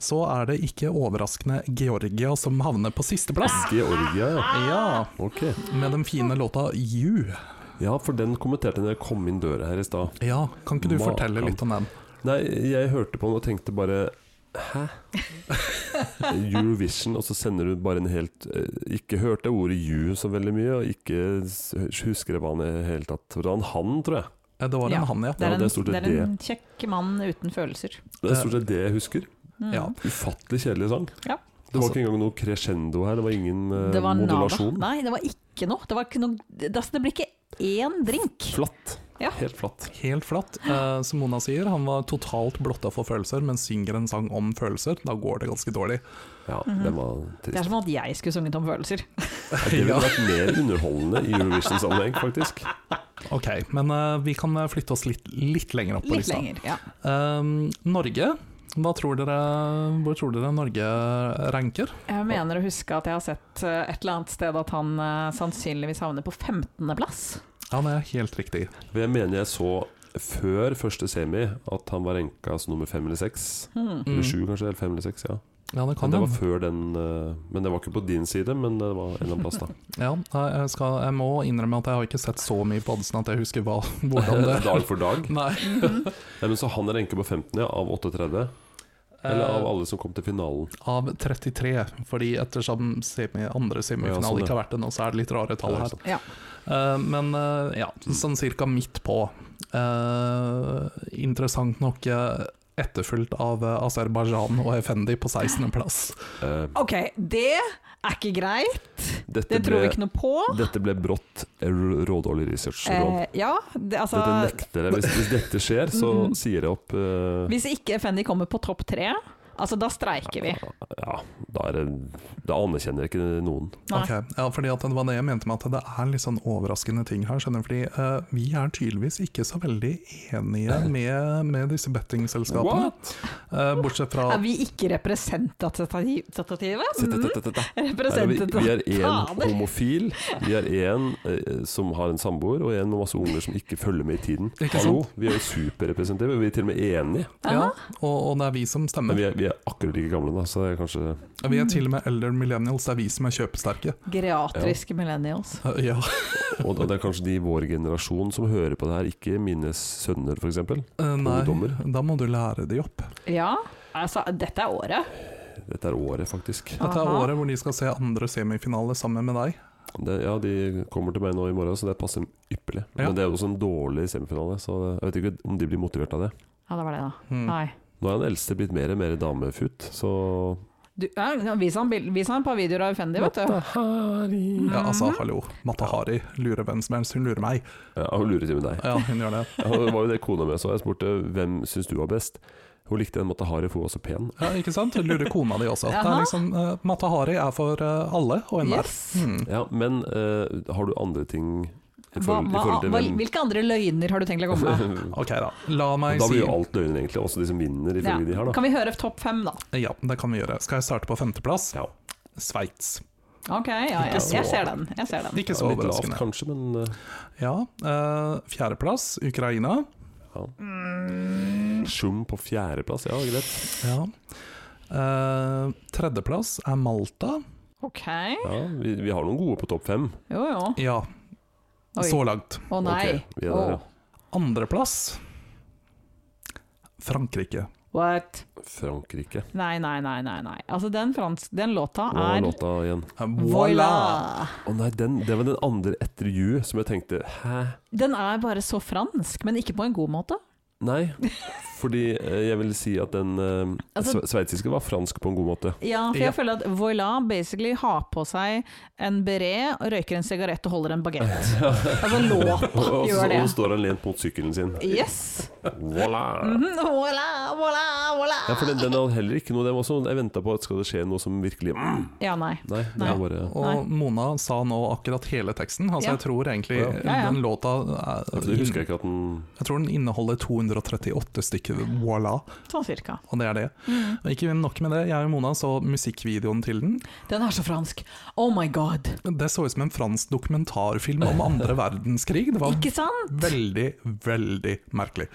B: Så er det ikke overraskende Georgia som havner på sisteplass.
A: Georgia, ja.
B: Ja,
A: Ok.
B: med den fine låta You.
A: Ja, for den kommenterte når jeg kom inn døra her i stad.
B: Ja, kan ikke du
A: Makan.
B: fortelle litt om den?
A: Nei, jeg hørte på den og tenkte bare Hæ? Eurovision, og så sender du bare en helt eh, Ikke hørte jeg ordet you så veldig mye, og ikke s- husker jeg hva han i det hele tatt Det var en han, tror jeg.
B: Eh, Det var en
C: Ja,
B: han, ja.
C: Det er
A: det
C: en,
A: er stort
C: det
A: sett
C: er en kjekk mann uten følelser. Mm.
A: Det er stort sett det jeg husker.
B: ja.
A: Ufattelig kjedelig sang.
C: Ja.
A: Det var
B: Altså-
A: ikke engang noe crescendo her, det var ingen eh,
C: Det var nada.
A: modulasjon.
C: Nei, det var ikke noe. Det, var ikke noe, det, altså, det blir ikke én drink.
A: Flatt.
C: Ja.
A: Helt flatt.
B: Helt flatt. Eh, som Mona sier, han var totalt blotta for følelser, men synger en sang om følelser. Da går det ganske dårlig.
A: Ja, det var
C: Mhm. Det er
A: trist.
C: som at jeg skulle sunget om følelser.
A: Det ville vært mer underholdende i Eurovision-sammenheng, faktisk.
B: Ok, men eh, vi kan eh, flytte oss litt, litt lenger opp på
C: Litt
B: lista.
C: lenger. Ja.
B: Eh, Norge. Hva tror dere, hvor tror dere Norge ranker?
C: Jeg mener å huske at jeg har sett eh, et eller annet sted at han eh, sannsynligvis havner på 15.-plass.
B: Ja, det er helt riktig.
A: For jeg mener jeg så før første semi at han var renka som nummer fem eller seks.
B: Mm.
A: Eller sju, kanskje. Eller fem eller seks, ja.
B: Ja, det kan
A: Men det
B: hende.
A: var før den eh, Men det var ikke på din side, men det var en eller annen plass, da.
B: Ja, nei, jeg, skal, jeg må innrømme at jeg har ikke sett så mye på oddsen at jeg husker hva, hvordan det
A: Dag for dag.
B: Nei.
A: Nei, men så han er renka på 15, ja. Av 38. Eller av alle som kom til finalen.
B: Av 33, fordi ettersom semi, andre
A: Ja,
B: semifinale
A: sånn, ja.
B: ikke har vært det nå, så er det litt rare tall
A: Ja, sånn. Mm.
B: her.
A: ikke sant.
C: Ja.
B: Eh, men eh, ja, sånn cirka midt på. Eh, interessant nok uh, etterfulgt av eh, Aserbajdsjan og Effendi på 16.-plass.
A: Eh,
C: Ok, det er ikke greit.
A: dette,
C: Det tror vi
A: ble,
C: ikke noe på.
A: dette ble brått eh, rådårlig research. Ron.
C: Eh, ja, det, altså
A: Dette nekter jeg. Hvis, hvis dette skjer, så sier jeg opp eh,
C: Hvis ikke Effendi kommer på topp tre, altså da streiker vi.
A: Ja, da, er det, da anerkjenner jeg ikke noen.
C: Nei.
B: Ok, ja, fordi at det var det jeg mente med at det er litt sånn overraskende ting her. skjønner du? Fordi eh, vi er tydeligvis ikke så veldig enige med, med disse bettingselskapene. Eh, bortsett fra
C: Er vi ikke representative?
A: Sitt, sitt, sitt, sitt, sitt. Her er vi,
C: Representative.
A: vi er én
C: Fader.
A: homofil, vi er én eh, som har en samboer, og én med masse unger som ikke følger med i tiden.
B: Ikke sant?
A: Hallo, vi er jo superrepresentative, vi er til og med enige.
B: Ja, og, og det er vi som
A: Men
B: stemmer.
A: vi er, vi er akkurat like gamle, da, så det er kanskje
B: Vi er til og med elder millennials, det er vi som er kjøpesterke.
C: Geriatriske millennials.
B: Eh, ja.
A: Og det er kanskje de i vår generasjon som hører på det her, ikke mine sønner, f.eks.
B: Eh, nei,
A: Ungdommer.
B: da må du lære de opp.
C: Ja, altså dette er året.
A: Dette er året, faktisk.
B: Dette er
C: Aha.
B: året hvor de skal se andre semifinale sammen med deg.
A: Det, ja, de kommer til meg nå i morgen, så det passer ypperlig.
B: Ja.
A: Men det er jo også en dårlig semifinale, så jeg vet ikke om de blir motivert av det.
C: Ja, det var det, da.
A: Hmm.
B: Mm.
C: Nei.
A: Nå er den eldste blitt mer og mer damefut, så
C: Du, ja, vis, han, bil- vis han et par videoer av Effendi, vet du.
B: Ja, altså, hallo. Matahari lurer hvem som helst, hun lurer meg.
A: Ja, hun lurer til med deg.
B: Ja, hun gjør det.
A: Ja, Det var jo det kona mi så. Jeg spurte hvem syns du var best. Hun likte en Matahari, for hun var så pen.
B: Ja, ikke sant? Hun lurer kona di også. Det
C: Jaha.
B: er liksom, eh, Matahari er for eh, alle og enhver. Hmm.
C: Yes.
A: Ja, men eh, har du andre ting i
C: Hva,
A: forhold, i
C: hva,
A: forhold til
C: hva,
A: hvem
C: hvilke andre løgner har du tenkt å komme med?
B: Ok, da. La meg
A: Da
B: si
A: blir jo alt løgn, egentlig. Også de som vinner,
C: Ja.
A: ifølge de her, da.
C: Kan vi høre topp fem, da?
B: Ja, det kan vi gjøre. Skal jeg starte på femteplass?
A: Ja.
B: Sveits.
C: Ok, ja, ja.
B: Ikke så-
C: jeg ser den. Jeg ser den.
B: Ikke
A: Så
B: så
A: litt lavt,
B: overraskende.
A: kanskje, men eh,
B: Ja, eh, Fjerdeplass, Ukraina.
C: Mm.
A: Sjum på fjerdeplass, ja, greit.
B: Ja. Eh, tredjeplass er Malta.
C: Ok,
A: Ja, vi, vi har noen gode på topp fem.
C: jo jo.
B: Ja,
C: Oi.
B: så langt.
C: Å nei.
A: Ok, vi er der, ja.
C: Å.
B: Andreplass Frankrike. Eh,
C: What?
A: Frankrike.
C: Nei, nei, nei, nei. nei. Altså, den, fransk, den låta
A: Hva var
C: er
A: låta igjen?
B: Voilà!
A: Å nei, den, det var den andre etter You som jeg tenkte Hæ?
C: Den er bare så fransk, men ikke på en god måte.
A: Nei. Fordi eh, jeg vil si at den eh,
C: Altså-
A: sve- sveitsiske var fransk på en god måte.
C: Ja, for
B: Ja.
C: jeg føler at Voila basically har på seg en beret, røyker en sigarett og holder en bagett. Altså låta
A: Og så,
C: gjør det.
A: og så står han lent mot sykkelen sin.
C: Yes!
A: Voilà!
C: Mhm, Voila, voila, voila!
A: Ja, for den, den hadde heller ikke noe. Den var sånn, jeg venta på at skal det skje noe som virkelig mm.
C: Ja, nei.
A: Nei, det
C: Nei.
A: var bare
B: Og Mona sa nå akkurat hele teksten. Altså
C: Ja.
B: Jeg tror egentlig
A: Ja.
C: Ja, ja.
B: den låta
A: Ja,
B: er,
A: for Det husker jeg ikke at den
B: Jeg tror den inneholder 238 stykker voilà,
C: Sånn cirka.
B: og det er det.
C: Mm.
B: Og ikke nok med det, jeg og Mona så musikkvideoen til den.
C: Den er så fransk. Oh my god.
B: Det så ut som en fransk dokumentarfilm om andre verdenskrig. Det var
C: Ikke sant?
B: veldig, veldig merkelig.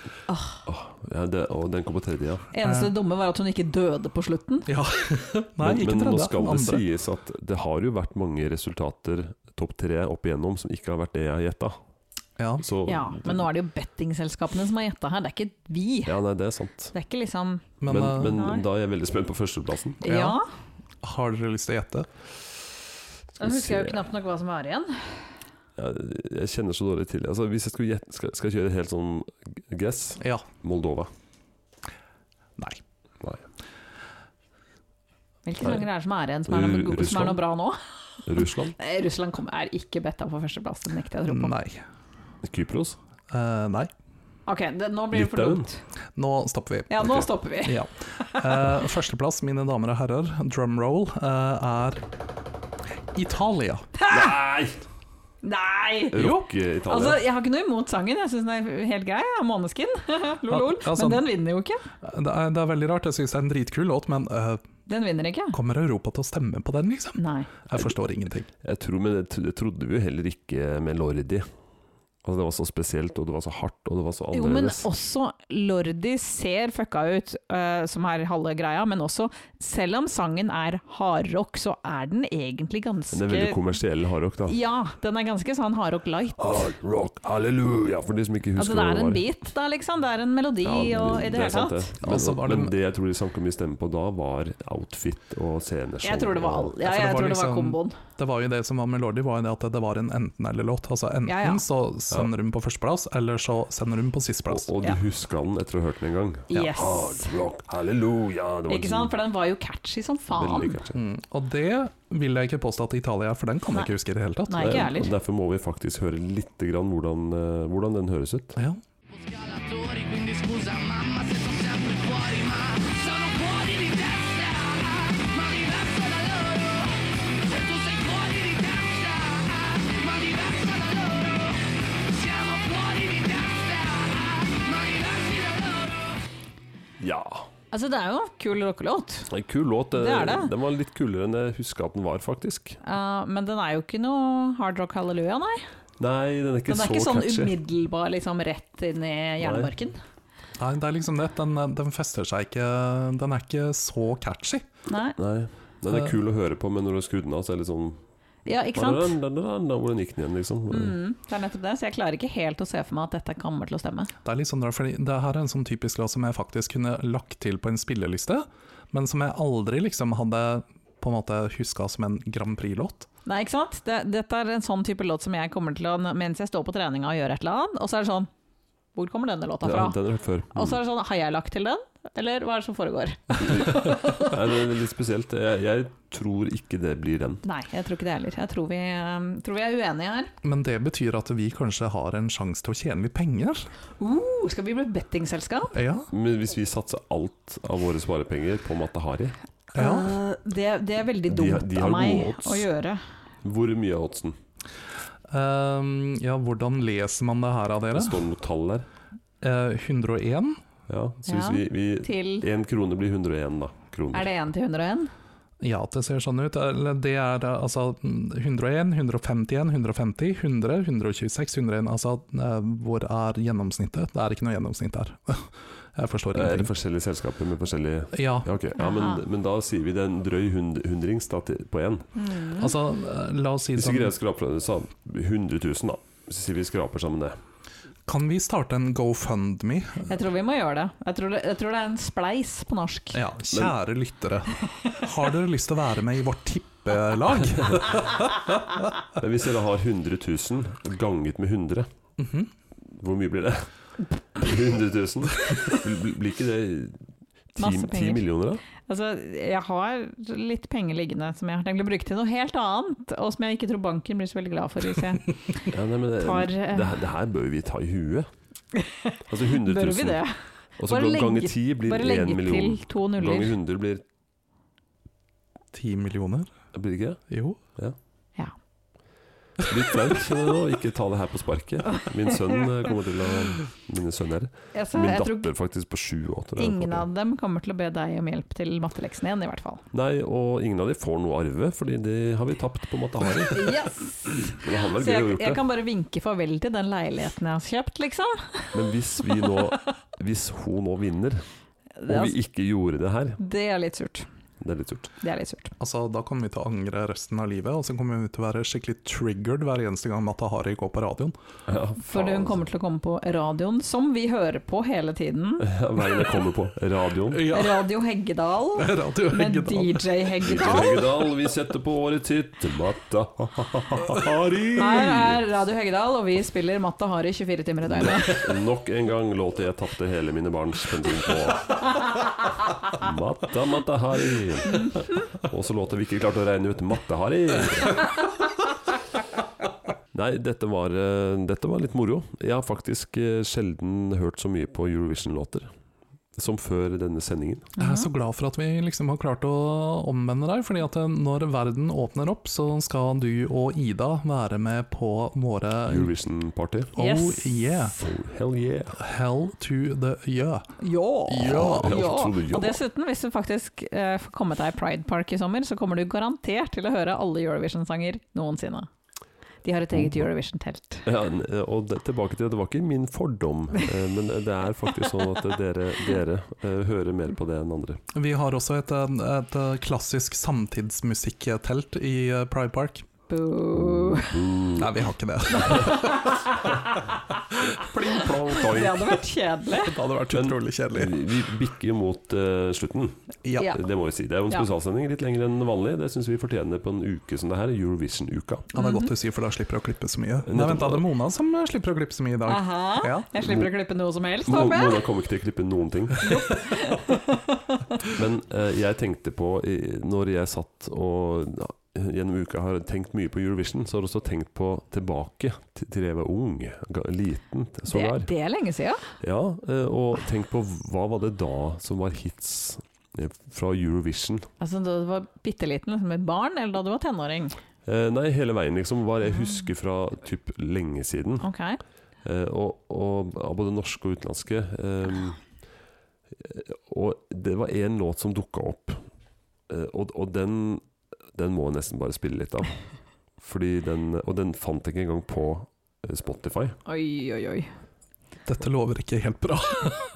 A: ja, det, Og den kom på tredje, ja.
C: Eneste dumme var at hun ikke døde på slutten.
B: Ja. Nei,
A: men
B: ikke
A: men
B: tredje.
A: nå skal det
B: andre.
A: sies at det har jo vært mange resultater, topp tre opp igjennom, som ikke har vært det jeg har gjetta.
B: Ja.
A: Så
C: Ja, men nå er det jo bettingselskapene som har gjetta her, det er ikke vi.
A: Ja, nei, det er sant.
C: Det er ikke liksom
B: Men,
A: Men,
B: eh,
A: men,
C: Nei.
A: da er jeg veldig spent på førsteplassen.
B: Ja.
C: Ja.
B: har dere lyst til å gjette?
C: Jeg husker jeg jo
A: se.
C: knapt nok hva som var igjen.
A: Jeg, jeg kjenner så dårlig til altså, Hvis jeg skulle gjette, skal, skal jeg kjøre helt sånn guess
B: Ja.
A: Moldova.
B: Nei.
A: Nei.
C: Hvilke
A: Nei.
C: sanger er det som er igjen, som er noe,
A: Ru-
C: go- som er noe
A: Russland?
C: bra nå?
A: Russland?
C: Nei, Russland kom, er ikke betta på førsteplass, det nekter jeg å tro på.
B: Nei.
A: Kypros?
B: Eh, nei.
C: Ok, det, nå blir det for
A: Litauen?
C: dumt.
B: Nå stopper vi.
C: Ja, nå stopper vi.
B: Ja. Eh, førsteplass, mine damer og herrer, drumroll, eh, er Italia.
A: Nei!
C: Nei!
A: Rock-Italia.
C: Altså, Jeg har ikke noe imot sangen, jeg syns den er helt grei. Ja. Måneskin, lol-lol.
B: Ja, altså-
C: Men den vinner jo ikke.
B: Det er, det er veldig rart, jeg syns det er en dritkul låt, men eh,
C: Den vinner ikke.
B: kommer Europa til å stemme på den, liksom?
C: Nei.
B: Jeg forstår ingenting.
A: Jeg tror, men det, tro- det trodde vi jo heller ikke med Lordi. Altså, det var så spesielt, og det var så hardt, og det var så
C: Jo, men
A: annerledes.
C: også Lordi ser fucka ut, eh, som er halve greia, men også selv om sangen er hardrock, så er den egentlig
A: Men det er veldig
C: ganske
A: kommersiell hardrock, da.
C: Ja, den er ganske sånn hardrock light.
A: Hardrock, halleluja! For de som ikke husker
C: Altså, det
A: hva
C: er
A: det
C: en
A: var.
C: beat, da, liksom. Det er en melodi og i det, hele
A: sant,
C: tatt.
A: Men,
B: Og så Altså, var det-
A: men det jeg tror de sanka mye stemme på da, var outfit og sceneshow.
C: Jeg tror det var, all, ja,
B: For det
C: jeg
B: var
C: tror det var
B: liksom-
C: komboen.
B: Det var jo det som var med Lordi, var jo det at det var en enten-eller-låt. Altså enten
C: Ja, ja.
B: så sender hun på førsteplass, eller så sender hun på sisteplass.
A: Og, og du
C: Ja.
A: huska den etter å ha hørt den en gang.
C: Yes.
A: Hardrock, halleluja! Det var
C: Ikke sant? For den var liksom- jo catchy som faen.
A: Veldig catchy.
B: Mm. Og det vil jeg ikke påstå at Italia er, for den kan jeg ikke huske i det hele tatt.
C: Nei, ikke jeg
A: Og
C: heller.
A: Derfor må vi faktisk høre litt grann hvordan, eh, hvordan den høres ut.
B: Ja.
D: scalatori, quindi scusa mamma se sono sempre fuori, ma sono fuori di testa, ma diverso da loro. Se tu sei fuori di testa, ma diverso da loro. Siamo fuori di testa, ma diversi da loro.
A: Ja.
C: Altså, det er jo en kul rockelåt,
A: En kul låt. eh,
C: Det er det.
A: Den var litt kulere enn jeg huska at den var, faktisk.
C: eh, men den er jo ikke noe hard rock halleluja, nei.
A: Nei, den er ikke
C: Den er
A: så
C: ikke sånn
A: catchy.
C: umiddelbar liksom rett inn i hjernemarken.
B: Nei, det er liksom det. Den, den fester seg ikke Den er ikke så catchy.
C: Nei.
A: Nei. Den er kul å høre på, men når du har skrudd den av, så er det litt sånn
C: Ja, ikke sant?
A: Hvordan gikk den igjen, liksom?
C: Mm, det er nettopp det, så jeg klarer ikke helt å se for meg at dette kommer til å stemme.
B: Det er litt sånn rart, fordi det her er en sånn typisk låt som jeg faktisk kunne lagt til på en spilleliste, men som jeg aldri liksom hadde på en måte huska som en Grand Prix-låt.
C: Nei, ikke sant? Det, dette er en sånn type låt som jeg kommer til å Mens jeg står på treninga og gjør et eller annet, og så er det sånn Hvor kommer denne låta
A: Ja,
C: fra?
A: den har jeg hørt før.
C: Og så er det sånn, har jeg lagt til den? Eller hva er det som foregår?
A: Nei, det er litt spesielt. Jeg, jeg tror ikke det blir den.
C: Nei, jeg tror ikke det heller. Jeg tror vi, ehm, tror vi er uenige her.
B: Men det betyr at vi kanskje har en sjanse til å tjene litt penger?
C: Uh, skal vi bli bettingselskap?
B: Ja.
A: Men hvis vi satser alt av våre sparepenger på Mata Hari,
B: ja.
C: Eh, det, det er veldig
A: De har-
C: dumt
A: de har
C: av meg
A: gode odds.
C: å gjøre.
A: hvor mye er oddsen?
B: Ehm, ja, hvordan leser man det her av dere?
A: Det står noe tall der.
B: Eh, 101?
A: Ja, så hvis
C: Ja,
A: vi,
C: Til
A: vi En krone blir 101, da. Kroner.
C: Er det 1 til 101?
B: Ja, det ser sånn ut. Eller det er eh, altså mm, 101, 151, 150, 100, 126, 101 Altså, eh, hvor er gjennomsnittet? Det er ikke noe gjennomsnitt der. Jeg forstår
A: Er det
B: ingenting.
A: forskjellige selskaper med forskjellige
B: Ja,
A: Ja, ok. Ja,
C: Aha.
A: men, men da sier vi det er en drøy hund- hundrings da, til- på én.
B: altså, eh, la oss si
A: Hvis vi
B: sånn
A: greier å skrape fra det, så 100 000, da. Så sier vi skraper sammen det.
B: Kan vi starte en GoFundMe?
C: Jeg tror vi må gjøre det. Jeg tror det, jeg tror det er en spleis på norsk.
B: Ja, kjære lyttere. Har dere lyst til å være med i vårt tippelag?
A: Men hvis dere har 100 000 ganget med 100,
B: Mhm.
A: hvor mye blir det? 100 000? Bl- bl- Blir ikke det
C: Masse
A: 10,
C: penger.
A: millioner, da?
C: Altså, jeg har litt penger liggende som jeg har tenkt å bruke til noe helt annet, og som jeg ikke tror banken blir så veldig glad for hvis jeg
A: Ja, nei, men det,
C: Tar, eh,
A: det, her- det her bør vi ta i huet. Altså 100 000.
C: Bør vi det?
A: Og så
C: Bare
A: gang- ganger
C: legge-
A: 10 blir
C: Bare legge
A: 1
C: til
A: million.
C: to
A: Ganger
C: nuller.
A: 100 blir
B: Ti millioner?
A: Blir det ikke det?
B: Jo.
C: Ja.
A: Litt flaut kjenner jeg nå, ikke ta det her på sparket. Min sønn eh, kommer til å Mine sønner.
C: Altså,
A: Min
C: jeg tror
A: datter faktisk på sju og åtte.
C: ingen av dem kommer til å be deg om hjelp til matteleksene igjen, i hvert fall.
A: Nei, og ingen av de får noe arve, Fordi det har vi tapt på Matahari.
C: Yes!
A: Men det hadde
C: Så
A: vært gøy å
C: jeg,
A: gjort
C: jeg
A: det.
C: kan bare vinke farvel til den leiligheten jeg har kjøpt, liksom.
A: Men hvis vi nå Hvis hun nå vinner, og
C: Det, altså-
A: vi ikke gjorde det her
C: det er litt surt.
A: Det er litt surt.
C: Det er litt surt.
B: Altså, da kommer vi til å angre resten av livet, og så kommer vi til å være skikkelig triggered hver eneste gang Matahari går på radioen.
A: Ja,
C: For
A: altså.
C: hun kommer til å komme på radioen, som vi hører på hele tiden.
A: ja, Veien jeg kommer på. Radioen.
C: Radio Heggedal
B: Radio
C: med
B: Heggedal.
C: DJ Heggedal.
A: Høgedal, vi setter på årets hit Matahari.
C: Her er Radio Heggedal, og vi spiller Matta Hari 24 timer i døgnet.
A: Nok en gang låter jeg tapte hele mine barns bensin på. Matta, Matahari. Og så låter vi ikke klarte å regne ut Matahari. Nei, dette var, eh, dette var litt moro. Jeg har faktisk eh, sjelden hørt så mye på Eurovision-låter som før denne sendingen.
B: Jeg er så glad for at vi liksom har klart å omvende deg, fordi at eh, når verden åpner opp, så skal du og Ida være med på våre
A: Eurovision-party.
B: Oh
C: Yes.
B: yeah,
A: Oh, hell yeah.
B: hell to the yeah.
C: Ja!
B: Ja.
C: Ja.
A: Absolutt, ja.
C: Og dessuten, hvis du faktisk eh, får kommet deg i Pride Park i sommer, så kommer du garantert til å høre alle Eurovision-sanger noensinne. De har et eget Eurovision-telt.
A: Ja, n- eh, og det, tilbake til det, det var ikke min fordom, eh, men det er faktisk sånn at dere, dere eh, hører mer på det enn andre.
B: Vi har også et, eh, et eh, klassisk samtidsmusikktelt i eh, Pride Park.
C: Boo.
A: Mm.
B: Nei, vi har ikke det.
A: Pling, plong,
C: Det
A: toing.
C: hadde vært kjedelig.
B: Det hadde vært
A: Men-
B: utrolig kjedelig.
A: Vi vi bikker mot eh, slutten,
B: Ja.
C: Ja.
A: det må vi si. Det er jo en
C: Ja.
A: spesialsending, litt lengre enn vanlig. Det syns vi fortjener på en uke som det her, Eurovision-uka.
B: Ja, det er godt du sier, for da slipper du å klippe så mye.
A: Nettopp.
B: Nei, vent, da er det Mona som eh, slipper å klippe så mye i dag.
C: Aha.
B: Ja.
C: Jeg slipper å klippe noe som helst,
A: Mo-
C: håper jeg.
A: Mona kommer ikke til å klippe noen ting. Men eh, jeg tenkte på, i- når jeg satt og ja, gjennom uka har tenkt mye på Eurovision, så har jeg også tenkt på tilbake til til jeg var ung, ga- liten t-
C: Det,
A: sågar.
C: det er lenge siden.
A: Ja, eh, og tenk på hva var det da som var hits eh, fra Eurovision?
C: Altså, da du var bitte liten, liksom et barn, eller da du var tenåring.
A: Eh, nei, hele veien, liksom. Hva jeg husker fra typ lenge siden.
C: Ok.
A: Eh, og, og av både norske og utenlandske. ehm, eh, og det var én låt som dukka opp, eh, og, og den, den må jeg nesten bare spille litt av. Fordi den, og den fant jeg ikke engang på eh, Spotify.
C: Oi, oi, oi.
B: Dette lover ikke helt bra.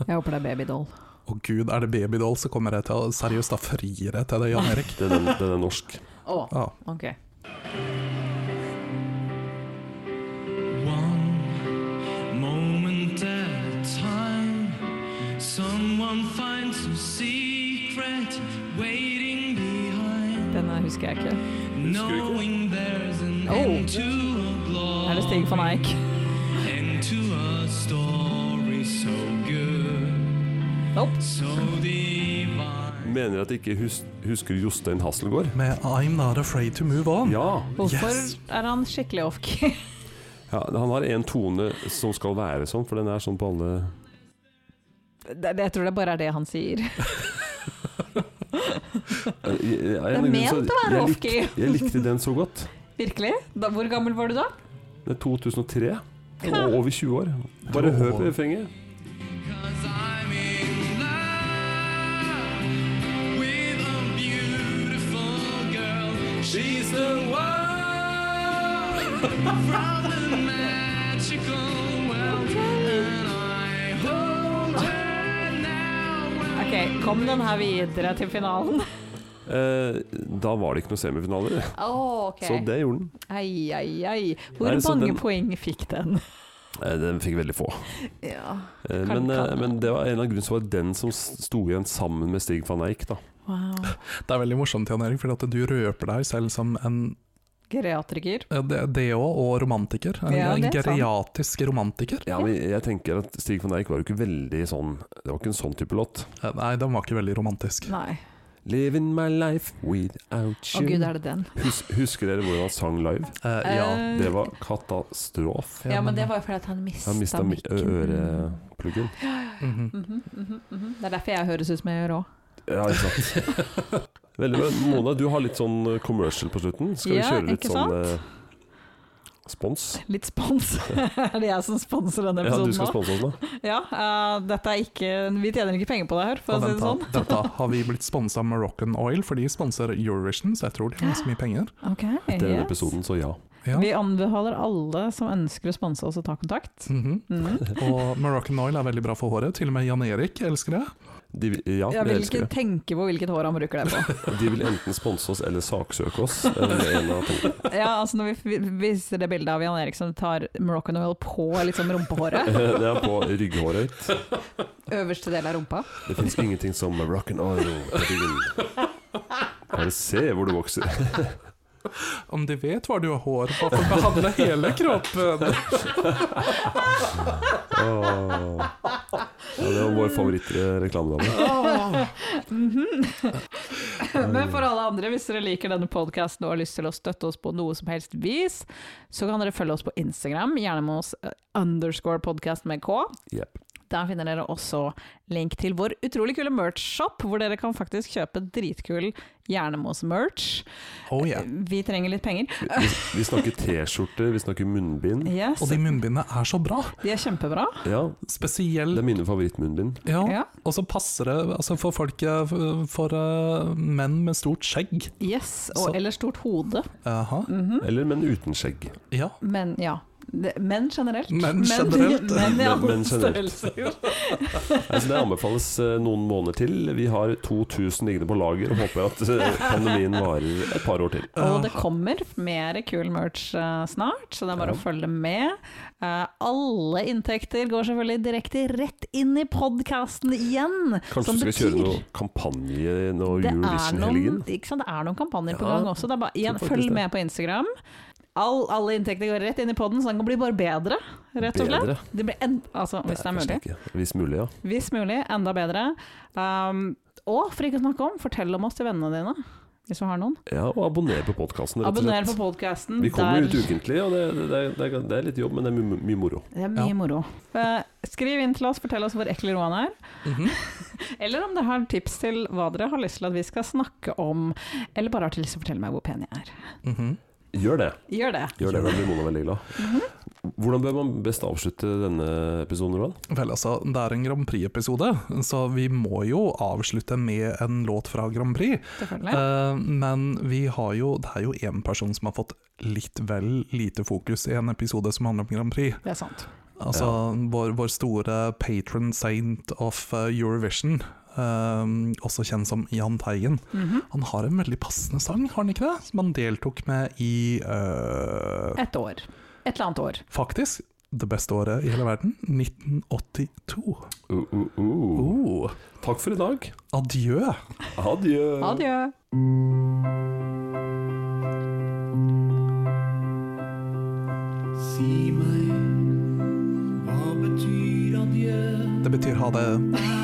C: Jeg håper det er babydoll.
B: Å gud, er det Babydoll, så kommer jeg til å Seriøst, da frir jeg til deg, Jan Erik.
A: Den, den, den er norsk.
C: Å,
B: Ja.
C: ok.
H: One moment at a time, someone finds a secret waiting behind.
C: Denne husker jeg ikke.
H: Knowing there's an
C: Oh.
H: end to a
C: Er det Stig
H: glory,
C: van Eijk?
H: end to a story so good,
C: Nope.
H: so divine.
A: Mener at jeg ikke hus husker Jostein Hasselgaard?
B: Med I'm not afraid to move on.
A: Ja.
C: Hvorfor
B: Yes.
C: er han skikkelig off-key?
A: ja! Han har en tone som skal være sånn, for den er sånn på alle
C: Det- det- Jeg tror det bare er det han sier.
A: Det
C: er ment å være off-key.
A: Jeg likte den så godt.
C: Virkelig? Da, hvor gammel var du da?
A: Det er 2003. Og over 20 år. Bare hør på refrenget.
H: Cause I'm in love with a beautiful Oh, girl. She's the one from the magical world. And I hold her now.
C: Ok, kom den her videre til finalen.
A: Eh, da var det ikke noen semifinaler,
C: Å, ok.
A: så det gjorde den.
C: Ai, ai, ai. Hvor
A: Nei, så
C: mange
A: sånn den-
C: poeng fikk den?
A: Eh, Den fikk veldig få.
C: Ja.
A: Eh,
C: Kan-
A: Men, eh,
C: kan-
A: men det var en av grunnene som var den som s- sto igjen sammen med Stig van Eijk. Da.
C: Wow.
B: Det er veldig morsomt, Jan Erik, fordi at du røper deg selv som en
C: Geriatriker.
B: ja, det det òg, og romantiker. En,
C: Ja,
B: en
C: det er sant.
B: geriatisk romantiker.
A: Ja, men jeg tenker at Stig van Eijk var jo ikke veldig sånn Det var ikke en sånn type låt.
B: Eh, Nei, den var ikke veldig romantisk.
C: Nei.
A: Living my life without
C: Å
A: you.
C: gud, er det den?
A: Hus husker dere hvordan han sang live?
B: Eh, ja.
C: Eh,
A: Det var katastrofe.
C: ja, men det var jo fordi at han mista
A: Han mista mi- ø- ørepluggen.
B: mhm.
C: Mhm, mhm, mhm. Det er derfor jeg høres ut som jeg gjør òg.
A: Ja, ikke sant. Veldig bra. Mona, du har litt sånn eh, commercial på slutten. Skal
C: Ja,
A: vi kjøre litt
C: ikke
A: sånn eh, spons?
C: Litt spons. er det jeg som sponser denne
A: Ja, du
C: episoden
A: skal
C: nå?
A: sponse oss nå?
C: Ja, eh, dette er ikke Vi tjener ikke penger på det her, for å
B: Og
C: si det
B: vent da,
C: sånn.
B: Dette har vi blitt sponsa av Moroccan Oil, for de sponser Eurovision, så jeg tror de har ganske mye penger.
C: sånn. Ok,
A: Etter denne
C: yes.
A: episoden, så ja.
B: Ja.
C: Vi anbefaler alle som ønsker å sponse oss, å ta kontakt.
B: Mhm.
C: Mhm.
B: Og Moroccan Oil er veldig bra for håret. Til og med Jan Erik elsker det.
A: De, vil- ja,
C: Jeg
A: vi
C: vil
A: elsker det.
C: ikke tenke på hvilket hår han bruker det på.
A: De vil enten sponse oss eller saksøke oss. Eller en av to.
C: Ja, altså Når vi vi- viser det bildet av Jan Erik som tar Moroccan oil på liksom rumpehåret,
A: Det er på rygghåret.
C: øverste del av rumpa
A: Det fins ingenting som rock and oil på ryggen. Bare se hvor du vokser.
B: Om de vet hvor du har hår, hvorfor behandle hele kroppen?
A: Åh. Ja, det var vår favorittreklamedame.
C: Mhm. Men for alle andre, hvis dere liker denne podkasten og har lyst til å støtte oss på noe som helst vis, så kan dere følge oss på Instagram, gjerne med oss eh, underscore podcast med K.
A: Yep.
C: Der finner dere også link til vår utrolig kule merch-shop, hvor dere kan faktisk kjøpe dritkul Jernemos-merch.
B: Oh yeah.
C: Vi trenger litt penger.
A: Vi, vi snakker T-skjorter, vi snakker munnbind.
C: Yes,
B: Og de munnbindene er så bra.
C: de er kjempebra.
A: Ja, det
B: Spesielt
A: er mine favorittmunnbind.
B: ja.
C: Ja.
B: Og så passer det altså for folk eh, For for, eh, menn med stort skjegg.
C: Yes, og,
B: Så-
C: eller stort hode.
B: Aha.
C: Mm.
A: Eller menn uten skjegg.
B: Ja.
C: Men ja. Det- Menn generelt.
B: Menn generelt.
C: Men, i alle
A: Men generelt.
C: størrelser.
A: Altså, det anbefales eh, noen måneder til. Vi har 2000 liggende på lager og håper at eh, pandemien varer et par år til.
C: Og det kommer mer kul merch eh, snart, så det er bare å følge med. Eh, alle inntekter går selvfølgelig direkte rett inn i podkasten igjen.
A: Kanskje
C: som
A: du skal
C: betyr-
A: kjøre noe kampanje nå
C: Det er
A: Eurovision-helgen?
C: noen, ikke sant? Det er noen kampanjer på
A: Ja,
C: gang også. Det er bare, igjen,
A: tror faktisk
C: følg
A: det.
C: med på Instagram. All, alle inntekter går rett inn i poden, så den kan bli bare bedre. Rett og slett.
A: Bedre?
C: Det blir en, altså, hvis det er mulig.
A: Kanskje ikke. Hvis mulig, ja.
C: Hvis mulig, enda bedre. Um, og for ikke å snakke om, fortell om oss til vennene dine, hvis du har noen.
A: ja og abonner på podkasten, rett og
C: Abonner
A: slett.
C: på podkasten.
A: Vi kommer jo ut ukentlig, og det, det, det, er- det, er- det er litt jobb, men det er mye, mye moro.
C: Det er mye
B: Ja.
C: moro. Eh, Skriv inn til oss, fortell oss hvor ekkel Roan er.
B: Mhm.
C: Eller om dere har tips til hva dere har lyst til at vi skal snakke om. Eller bare har til lyst til å fortelle meg hvor pen jeg er.
B: Mhm.
A: Gjør det.
C: Gjør det.
A: Gjør det, Da blir Mona veldig glad.
C: Mhm.
A: Hvordan bør man best avslutte denne episoden, Roland?
B: Vel, altså, det er en Grand Prix-episode, så vi må jo avslutte med en låt fra Grand Prix.
C: Selvfølgelig.
B: Eh, men vi har jo Det er jo én person som har fått litt vel lite fokus i en episode som handler om Grand Prix.
C: Det er sant.
B: Altså vår, vår store patron saint of eh, Eurovision, eh, også kjent som Jahn Teigen. Han har en veldig passende sang, har han ikke det? Som han deltok med i eh,
C: Et år. Et eller annet år.
B: Faktisk det beste året i hele verden, 1982.
A: Uh, uh, uh.
B: Oh,
A: Takk for i dag.
B: adjø!
A: Adjø.
C: Adjø.
H: Si meg, hva betyr adjø?
B: Det betyr ha det.
H: sånn